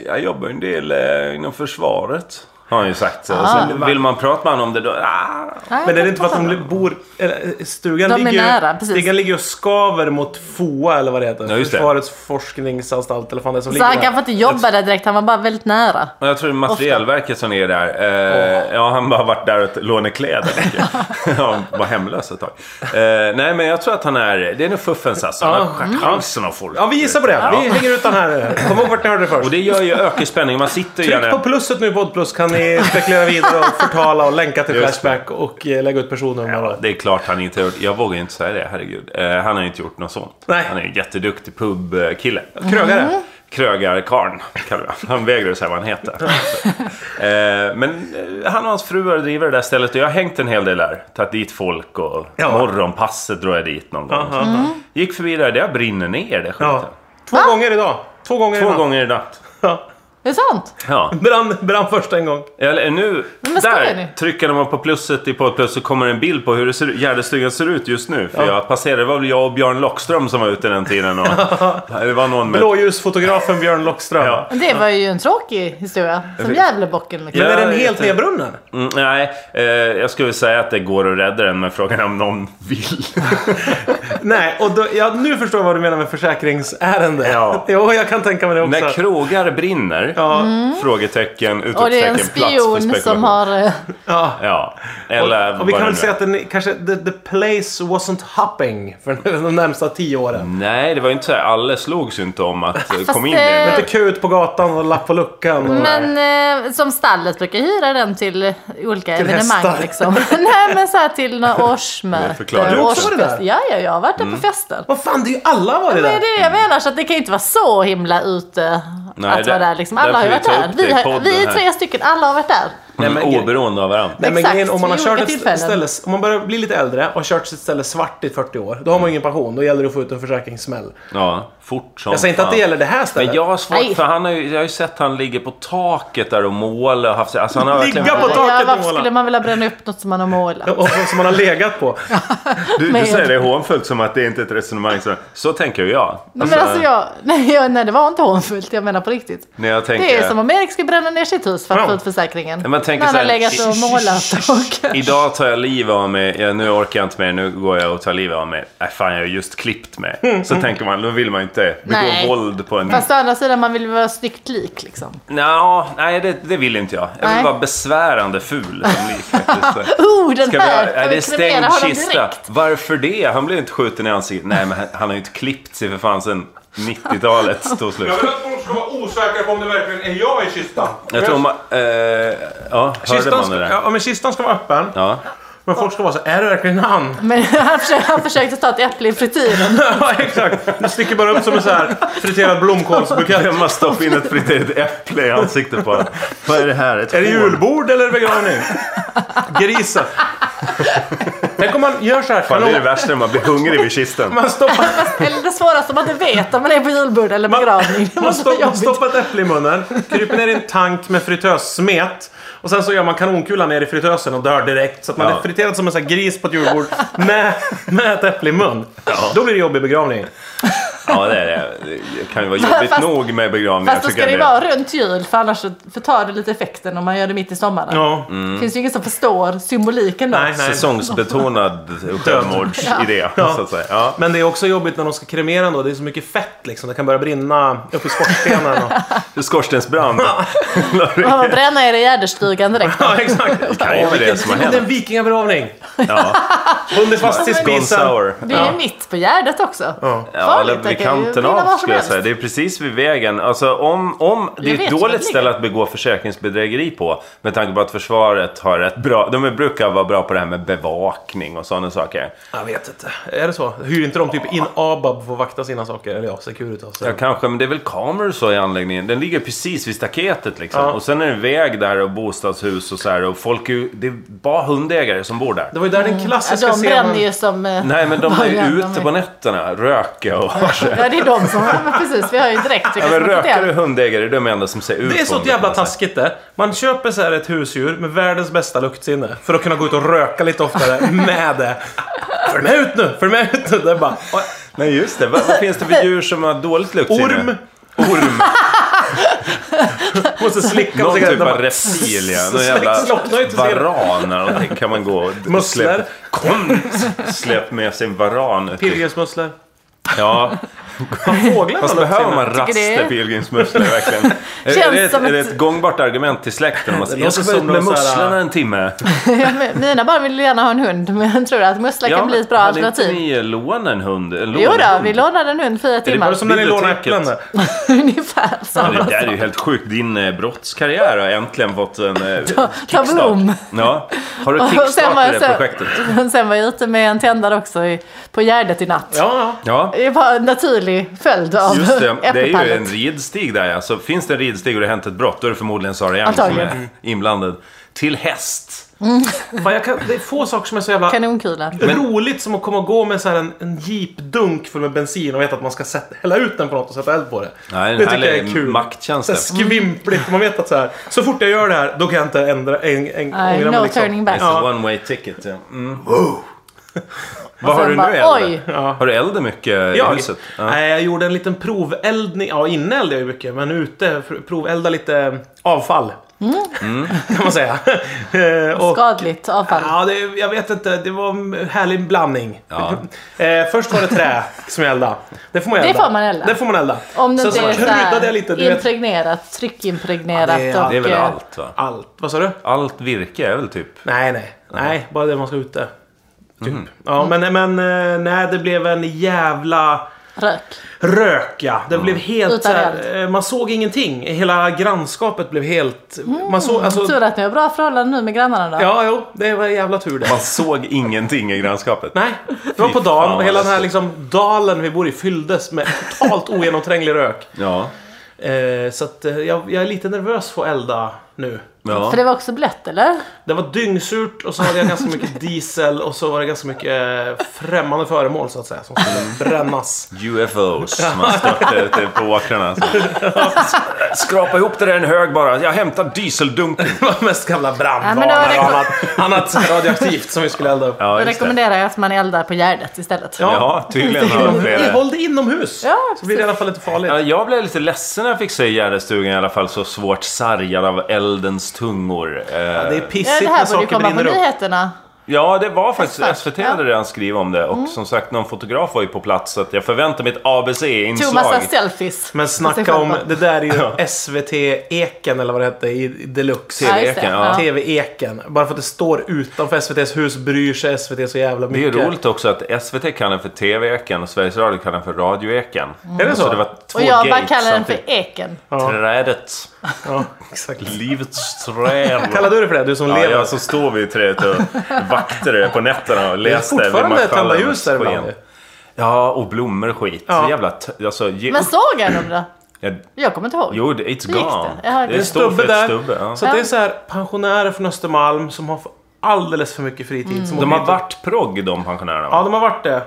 Speaker 1: jag jobbar en del eh, inom försvaret. Har han ju sagt. Så.
Speaker 3: Ah.
Speaker 1: Sen vill man prata med honom om det då... Ah.
Speaker 3: Nej,
Speaker 2: Men är det inte för att de bor... eller, eh, Stugan
Speaker 3: De är
Speaker 2: ligger, ju-
Speaker 3: nära, precis.
Speaker 2: stugan ligger och skaver mot FOA eller vad det heter.
Speaker 1: Ja, just det.
Speaker 2: Försvarets forskningsanstalt eller vad fan det är som
Speaker 3: Så
Speaker 2: ligger
Speaker 3: han
Speaker 2: där.
Speaker 3: kanske inte jobbade direkt, han var bara väldigt nära.
Speaker 1: Men Jag tror det är materielverket som är där. Eh, Ja, han bara varit där och lånat kläder. mycket. Han var hemlös ett tag. Eh, nej, men jag tror att han är... Det är nog fuffens alltså. Han har skärt halsen av folk.
Speaker 2: Ah. Ja, vi gissar på det. Vi hänger ut den här. Kom ihåg vart ni hörde det först.
Speaker 1: Och det gör ju ökar spänningen. Man sitter ju
Speaker 2: Tryck på
Speaker 1: gärna...
Speaker 2: plusset nu Podd Plus kan ni spekulera vidare och förtala och länka till
Speaker 1: Just det.
Speaker 2: Flashback och eh, lägga ut personnummer.
Speaker 1: Ja,
Speaker 2: och-
Speaker 1: det är klart han inte har gjort. Jag vågar ju inte säga det, herregud. Eh, han har ju inte gjort något sånt.
Speaker 2: Nej. Mm-hmm.
Speaker 1: Han är ju en jätteduktig pubkille.
Speaker 2: Krögare.
Speaker 1: Krögarkarn kallar vi honom. Han vägrar säga vad han heter. eh, men eh, han och hans fru har drivit det där stället och jag har hängt en hel del där. Tagit dit folk och
Speaker 2: Ja.
Speaker 1: morgonpasset drar jag dit någon gång.
Speaker 2: Aha.
Speaker 1: Gick förbi där, det brinner ner det skiten.
Speaker 2: Ja. Två
Speaker 3: Va?
Speaker 2: gånger idag. Två gånger
Speaker 1: Två
Speaker 2: idag.
Speaker 1: gånger i natt.
Speaker 2: Ja.
Speaker 3: Det är sant?
Speaker 1: Ja.
Speaker 2: Brann, brann först en gång.
Speaker 1: Eller nu,
Speaker 3: Men vad skojar ni?
Speaker 1: där trycker man på plusset i Podd Plus så kommer en bild på hur det ser, ut- Gärdestugan ser ut just nu. För jag passerade, det var väl jag och Björn Lockström som var ute den tiden. Och, det var någon med...
Speaker 2: Blåljusfotografen Björn Lockström.
Speaker 1: Ja.
Speaker 3: Men Det var ju en tråkig historia. Som Gävlebocken liksom.
Speaker 1: Ja.
Speaker 2: Men är den
Speaker 1: jag
Speaker 2: helt
Speaker 1: vet inte.
Speaker 2: nedbrunnen?
Speaker 1: Mm, nej, eh, jag skulle säga att det går att rädda den men frågan är om någon vill.
Speaker 2: Nej, och då, ja, nu förstår jag vad du menar med försäkringsärende.
Speaker 1: Ja.
Speaker 2: Jo, jag kan tänka mig det också.
Speaker 1: När krogar brinner? Mm.
Speaker 2: ja,
Speaker 1: Frågetecken,
Speaker 3: Och det
Speaker 1: utropstecken,
Speaker 3: är en
Speaker 1: plats för
Speaker 3: spion som
Speaker 1: spekulation.
Speaker 3: har... eh,
Speaker 2: ja.
Speaker 1: Ja, eller
Speaker 2: och, och vi
Speaker 1: vad
Speaker 2: kan
Speaker 1: det
Speaker 2: väl
Speaker 1: nu
Speaker 2: säga
Speaker 1: är.
Speaker 2: att den kanske, the, the place wasn't hopping för de närmsta tio åren.
Speaker 1: Nej, det var ju inte så här. Alla slogs ju inte om att eh, kom in i
Speaker 3: det-
Speaker 1: den.
Speaker 2: Inte kö ut på gatan och lapp på luckan.
Speaker 1: Mm.
Speaker 2: Och
Speaker 3: Men eh, som stallet brukar hyra den till eh, olika
Speaker 2: Till
Speaker 3: evenemang.
Speaker 2: hästar.
Speaker 3: Liksom. Nej men så här till några
Speaker 1: Det Mm. förklarar.
Speaker 3: årsmöten.
Speaker 1: Du
Speaker 2: har också varit
Speaker 3: årsfest.
Speaker 2: där?
Speaker 3: Ja, ja, jag har varit där på fester.
Speaker 2: Vad fan, det är ju alla varit
Speaker 3: Men det är
Speaker 2: där.
Speaker 3: det jag menar, så att det kan ju inte vara så himla ute
Speaker 1: Mm. Nej,
Speaker 3: att
Speaker 1: det-
Speaker 3: vara där. Liksom. Alla har ju
Speaker 1: därför
Speaker 3: varit
Speaker 1: vi tar
Speaker 3: där.
Speaker 1: upp det
Speaker 3: Vi,
Speaker 1: i
Speaker 3: har,
Speaker 1: podden
Speaker 3: vi är
Speaker 1: här.
Speaker 3: tre stycken, alla har varit där.
Speaker 1: Mm,
Speaker 2: Nej, men-
Speaker 1: Oberoende av varandra.
Speaker 2: Nej, men
Speaker 3: Exakt,
Speaker 2: grejen, om man har
Speaker 3: vid
Speaker 2: kört
Speaker 3: olika
Speaker 2: ett st-
Speaker 3: tillfällen.
Speaker 2: ställe, om man börjar bli lite äldre och har kört sitt ställe svart i 40 år, då har man ju ingen pension. Då gäller det att få ut en försäkringssmäll.
Speaker 1: Ja, fort som
Speaker 2: Jag säger inte att det
Speaker 1: fan.
Speaker 2: gäller det här stället.
Speaker 1: Men jag har svårt
Speaker 3: Nej.
Speaker 1: för han har ju, jag har ju sett han ligger på taket där och målar och haft sig- alltså, han har
Speaker 2: Ligga
Speaker 1: verkligen...
Speaker 2: på taket
Speaker 3: ja,
Speaker 2: och
Speaker 3: varför
Speaker 2: måla.
Speaker 3: skulle man vilja bränna upp något som man har målat?
Speaker 2: Och, och som man har legat på.
Speaker 1: Du,
Speaker 3: Men- säger
Speaker 1: det hånfullt som att det inte är ett resonemang. Så, så tänker ju jag.
Speaker 3: Nej, men alltså jag, nej, jag, nej det var inte hånfullt, jag menar på riktigt.
Speaker 1: när jag tänker,
Speaker 3: Det är som om Erik skulle bränna ner sitt hus för
Speaker 2: Ja.
Speaker 3: att få ut försäkringen.
Speaker 1: Men man tänker
Speaker 3: När han
Speaker 1: så
Speaker 3: har
Speaker 1: här-
Speaker 3: legat och målat. Och...
Speaker 1: Idag tar jag livet av mig, ja, nu orkar jag inte mer, nu går jag och tar livet av mig. Nej fan, jag har just klippt mig. Så tänker man, då vill man ju inte begå
Speaker 3: Nej.
Speaker 1: våld på en...
Speaker 3: Fast å andra sidan, man vill vara snyggt lik liksom.
Speaker 1: Nå, nej det, det vill inte jag. Jag vill
Speaker 3: Nej.
Speaker 1: vara besvärande ful som lik faktiskt.
Speaker 3: Oh, den
Speaker 1: Ska vi
Speaker 3: här!
Speaker 1: göra-
Speaker 3: kan
Speaker 1: Nej, det
Speaker 3: vi
Speaker 1: är
Speaker 3: kremera
Speaker 1: stängd
Speaker 3: honom
Speaker 1: kista.
Speaker 3: direkt?
Speaker 1: Varför det? Han blev inte skjuten i ansiktet. Nej, men han- han har ju inte klippt sig för fan sedan 90-talet tog slut.
Speaker 2: vill att folk ska vara osäkra på om det verkligen är jag i kistan.
Speaker 1: Jag tror man... Eh, ja, hörde
Speaker 2: Kistan
Speaker 1: man det
Speaker 2: ska,
Speaker 1: där?
Speaker 2: ja, men kistan ska vara öppen.
Speaker 1: Ja.
Speaker 2: Men folk ska vara så, är det verkligen han?
Speaker 3: Men han försökte, han försökte ta ett äpple i frityren.
Speaker 2: ja, exakt. Det sticker bara upp som en så här friterad blomkålsbukett.
Speaker 1: Jag måste stoppa in ett friterat äpple i ansiktet på honom. Vad är det här? Ett
Speaker 2: Är det
Speaker 1: hål?
Speaker 2: julbord eller begravning? Grisen. Tänk om man gör så här.
Speaker 1: Fan, det är det
Speaker 2: kanon-
Speaker 1: värsta när man blir hungrig vid kisten.
Speaker 2: Man stoppar,
Speaker 3: Eller det svåraste man inte vet om man är på julbord eller begravning. Det
Speaker 2: man
Speaker 3: måste vara
Speaker 2: stopp,
Speaker 3: jobbigt.
Speaker 2: stoppar ett äpple i munnen, kryper ner i en tank med fritössmet. Och sen så gör man kanonkula ner i fritösen och dör direkt. Så att man
Speaker 1: Ja.
Speaker 2: är friterad som en sån här gris på ett julbord med, med ett äpple i mun. Då blir det jobbig begravning.
Speaker 1: Ja, det är det. Det kan ju vara jobbigt
Speaker 3: Fast-
Speaker 1: nog med begravningar.
Speaker 3: Fast då
Speaker 1: tycker
Speaker 3: ska det ju
Speaker 1: jag
Speaker 3: vara runt jul för annars så förtar det lite effekten om man gör det mitt i sommaren.
Speaker 2: Ja.
Speaker 1: Mm.
Speaker 3: Det finns ju ingen som förstår symboliken då.
Speaker 2: Nej, nej.
Speaker 1: Säsongsbetonad självmordsidé, så att säga. Ja.
Speaker 2: Men det är också jobbigt när de ska kremera den då. Det är så mycket fett liksom. Det kan börja brinna upp i skorstenen. Och...
Speaker 1: Skorstensbrand.
Speaker 3: Man får bränna er i gärdestugan direkt.
Speaker 2: Ja, exakt. Det
Speaker 1: kan ju vara det som har
Speaker 2: Det är en
Speaker 1: hänt.
Speaker 2: vikingabegravning.
Speaker 1: Ja.
Speaker 2: Under fast i
Speaker 1: Gone
Speaker 2: spisen.
Speaker 1: sour.
Speaker 3: Det är ju mitt på Gärdet också. Ja,
Speaker 1: Ja, eller vid kanten av skulle jag säga. Det är precis vid vägen. Alltså om, om det
Speaker 3: Jag
Speaker 1: är
Speaker 3: vet
Speaker 1: ett
Speaker 3: hur det
Speaker 1: dåligt
Speaker 3: ligger.
Speaker 1: ställe att begå försäkringsbedrägeri på. Med tanke på att försvaret har ett bra... De brukar vara bra på det här med bevakning och sådana saker.
Speaker 2: Jag vet inte. Är det så? Hyr inte de typ in ABAB för att vakta sina saker? Eller ja, Securitas.
Speaker 1: Ja, kanske, men det är väl kameror så i anläggningen. Den ligger precis vid staketet liksom.
Speaker 2: Ja.
Speaker 1: Och sen är det väg där och bostadshus och så här. Och folk är ju... Det är bara hundägare som bor där.
Speaker 2: Det var ju där den klassiska
Speaker 3: Mm. de bränner
Speaker 2: scenen...
Speaker 3: ju som... eh,
Speaker 1: Nej, men de är
Speaker 3: vad gör
Speaker 1: ju
Speaker 3: de
Speaker 1: ute
Speaker 3: med-
Speaker 1: på nätterna. Röka och...
Speaker 3: Ja, det är de som... Ja, men precis, vi har ju direkt...
Speaker 1: Ja,
Speaker 3: vilka
Speaker 1: men
Speaker 3: som har fått
Speaker 1: rökare
Speaker 3: det.
Speaker 1: och hundägare är de enda som ser ut alltså.
Speaker 2: Det är
Speaker 1: som
Speaker 2: så jävla
Speaker 1: kan man säga.
Speaker 2: taskigt det. Man köper så här ett husdjur med världens bästa luktsinne. För att kunna gå ut och röka lite oftare med det. Följ med ut nu! Följ med ut nu! Det är bara... och-
Speaker 1: Nej, just det. Vad, vad finns det för djur som har dåligt luktsinne?
Speaker 2: Orm!
Speaker 1: Orm.
Speaker 2: Måste slicka på
Speaker 1: Någon typ
Speaker 2: cigaretterna.
Speaker 1: av reptil, ja. Någon
Speaker 2: Slocknar ju
Speaker 1: jävla
Speaker 2: inte så jävla-
Speaker 1: varan eller någonting kan man gå och d-
Speaker 2: Musslor.
Speaker 1: släpp- Kom! Släpp med sig en varan. ut i-
Speaker 2: Pilgrimsmusslor.
Speaker 1: Ja,
Speaker 2: Har fåglar
Speaker 1: fast
Speaker 2: något
Speaker 1: behöver
Speaker 2: luktsinne?
Speaker 1: man
Speaker 3: det är-
Speaker 1: rasterpilgrimsmusslor verkligen? Är, är, det ett,
Speaker 3: som
Speaker 1: är det
Speaker 3: ett-
Speaker 1: ett gångbart argument till släkten? Man säger,
Speaker 2: låter
Speaker 1: jag ska vara
Speaker 2: som
Speaker 1: ut med
Speaker 2: någon så här-
Speaker 1: musslorna en timme.
Speaker 3: Ja, men Mina barn vill gärna ha en hund, men tror du att mussla kan bli ett bra
Speaker 1: hade inte
Speaker 3: alternativ?
Speaker 1: ni eh, lånat en hund? En
Speaker 3: Jo då,
Speaker 1: lånehund?
Speaker 3: vi lånade en hund fyra
Speaker 2: Var
Speaker 3: timmar.
Speaker 2: det som när ni
Speaker 3: typ.
Speaker 2: lånade
Speaker 1: Biblioteket.
Speaker 2: äpplen där?
Speaker 3: Ungefär
Speaker 1: Ja,
Speaker 3: samma.
Speaker 1: Det där är ju helt sjukt. Din eh, brottskarriär har äntligen fått en eh, kickstart.
Speaker 3: blom.
Speaker 1: Ja. Har du
Speaker 3: Och sen var,
Speaker 1: kickstartat det
Speaker 3: jag,
Speaker 1: projektet?
Speaker 3: sen, sen var jag ute med en tändare också i, på Gärdet i natt.
Speaker 2: Ja, ja.
Speaker 1: Ja.
Speaker 3: Det var en naturlig följd av
Speaker 1: Just det, det är ju
Speaker 3: äppelpallet.
Speaker 1: en ridstig där ja. Så finns det en ridstig och det har hänt ett brott, då är det förmodligen Sara Young som
Speaker 3: Antagligen.
Speaker 1: är inblandad. Till häst.
Speaker 2: Fan, jag kan, det är få saker som är så jävla
Speaker 3: Kanonkulan.
Speaker 2: roligt som att komma och gå med så här en, en jeepdunk full med bensin och veta att man ska sätta, hälla ut den på något och sätta eld på det.
Speaker 1: Nej, en
Speaker 2: det tycker jag är
Speaker 1: härlig
Speaker 2: kul.
Speaker 1: makttjänst
Speaker 2: Så här
Speaker 1: där.
Speaker 2: skvimpligt. Man vet att så här, så fort jag gör det här, då kan jag inte ändra, en, en,
Speaker 3: Nej,
Speaker 2: ångra
Speaker 3: no
Speaker 2: mig. Liksom.
Speaker 3: turning back.
Speaker 1: It's a one way ticket. Ja. Mm. Vad
Speaker 3: Och
Speaker 1: har du
Speaker 3: sen
Speaker 1: nu
Speaker 3: bara,
Speaker 1: Elde?
Speaker 3: oj.
Speaker 2: Ja.
Speaker 1: Har du eldat mycket i
Speaker 2: Jag,
Speaker 1: huset? Ja.
Speaker 2: nej, jag gjorde en liten proveldning. Ja, inne eldade jag ju mycket, men ute pr- provelda lite avfall.
Speaker 1: Mm.
Speaker 2: Kan man säga. Eh, och-
Speaker 3: Skadligt avfall.
Speaker 2: Ja, det, jag vet inte. Det var en härlig blandning.
Speaker 1: Ja.
Speaker 2: Eh, först var det trä som jag eldade. Det får man
Speaker 3: Det
Speaker 2: elda.
Speaker 3: får man elda.
Speaker 2: Det får man elda.
Speaker 3: Om det
Speaker 2: Sen
Speaker 3: inte
Speaker 2: så
Speaker 3: är så
Speaker 2: kryddade jag lite.
Speaker 3: här
Speaker 2: Du vet,
Speaker 3: impregnerat, tryckimpregnerat
Speaker 2: Ja, det är-
Speaker 3: och...
Speaker 1: Det är väl
Speaker 3: eh,
Speaker 1: allt va?
Speaker 2: allt. Vad sa du?
Speaker 1: Allt virke är väl typ...
Speaker 2: Nej, nej. Nej, bara det man ska ute. Typ.
Speaker 1: Mhm.
Speaker 2: Ja, men,
Speaker 3: Mm.
Speaker 2: men eh, nej, det blev en jävla
Speaker 3: Rök.
Speaker 2: rök, ja. Det blev helt...
Speaker 3: Utan
Speaker 2: så här, eh, man såg ingenting. Hela grannskapet blev helt...
Speaker 3: Mm,
Speaker 2: Man såg... Alltså,
Speaker 3: Tur att ni har bra förhållanden nu med grannarna då.
Speaker 2: ja, jo. Det var jävla tur det.
Speaker 1: Man såg ingenting i grannskapet.
Speaker 2: Nej, det var
Speaker 1: Fy
Speaker 2: på dagen
Speaker 1: fan,
Speaker 2: och hela den här
Speaker 1: alltså.
Speaker 2: liksom, dalen vi bor i fylldes med totalt ogenomtränglig rök.
Speaker 1: Ja.
Speaker 2: Eh, så att, eh, jag, jag är lite nervös för att elda nu.
Speaker 1: ja.
Speaker 3: För det var också blött eller?
Speaker 2: Det var dyngsurt och så hade jag ganska mycket diesel och så var det ganska mycket eh, främmande föremål så att säga som skulle brännas.
Speaker 1: UFOs som man störtar ute på åkrarna. Så. Skrapa ihop det där i en hög bara. Jag hämtar dieseldunken.
Speaker 2: Det var mest gamla
Speaker 3: Ja, men det var
Speaker 2: brandvarnare
Speaker 3: det-
Speaker 2: och annat, annat radioaktivt som vi skulle elda upp.
Speaker 1: Ja,
Speaker 3: Då
Speaker 1: just det.
Speaker 3: rekommenderar jag att man eldar på Gärdet istället.
Speaker 2: Ja.
Speaker 1: Ja, tydligen har de
Speaker 2: Men
Speaker 1: flera.
Speaker 2: Håll det inomhus!
Speaker 3: Ja,
Speaker 2: så blir det i alla fall lite farligt.
Speaker 1: Ja, Jag blev lite ledsen när jag fick se Gärdestugan i alla fall så svårt sargad av eldens tungor. Eh,
Speaker 2: Det är
Speaker 3: Ja,
Speaker 2: pissigt
Speaker 3: det
Speaker 2: när
Speaker 3: här borde ju
Speaker 2: saker
Speaker 3: komma på
Speaker 2: brinner upp.
Speaker 3: nyheterna.
Speaker 1: Ja, det var faktiskt
Speaker 3: Exakt,
Speaker 1: SVT
Speaker 3: ja. Mm.
Speaker 1: hade redan skrivit om det och som sagt någon fotograf var ju på plats så att jag förväntar mig ett
Speaker 3: Tog massa
Speaker 1: ABC-inslag.
Speaker 3: selfies.
Speaker 2: Men snacka om, det där är ju SVT-eken eller vad det hette i i deluxe.
Speaker 3: Ja, just det.
Speaker 1: TV-eken, ja.
Speaker 2: TV-eken. Bara för att det står utanför SVTs hus bryr sig SVT så jävla
Speaker 1: Det är ju
Speaker 2: mycket.
Speaker 1: roligt också att SVT kallar den för TV-eken och Sveriges Radio kallar den för Radioeken.
Speaker 2: Är det så?
Speaker 1: det var två
Speaker 3: Mm. Och jag bara
Speaker 1: gates
Speaker 3: kallar den för
Speaker 1: samtidigt.
Speaker 3: Eken.
Speaker 1: Trädet.
Speaker 2: Ja, exakt.
Speaker 1: Livets träd.
Speaker 2: Kallar du det för det? Du som
Speaker 1: Ja,
Speaker 2: lever.
Speaker 1: jag som står vid trädet och vakter på nätterna och
Speaker 2: Det är
Speaker 1: läste
Speaker 2: fortfarande
Speaker 1: Macfarlanes
Speaker 2: tända ljus där ibland
Speaker 1: sken.
Speaker 2: ju.
Speaker 1: Ja, och blommor och skit.
Speaker 2: Ja.
Speaker 1: Jävla t- alltså, ge
Speaker 3: Men
Speaker 1: upp.
Speaker 3: såg jag dem då?
Speaker 1: Ja,
Speaker 3: Jag kommer inte ihåg.
Speaker 1: Jo, det- it's
Speaker 3: Hur gick
Speaker 1: gone.
Speaker 3: det? Jag hörde
Speaker 1: Det är
Speaker 3: det.
Speaker 1: stor
Speaker 2: Stubbe
Speaker 1: fet
Speaker 2: där.
Speaker 1: stubbe. Ja.
Speaker 2: Så att det är så här pensionärer från Östermalm som har alldeles för mycket fritid.
Speaker 3: Mm.
Speaker 2: Som
Speaker 1: De
Speaker 2: åker
Speaker 1: har Mm.
Speaker 2: dit och-
Speaker 1: varit progg de pensionärerna. va?
Speaker 2: Ja, de har varit det.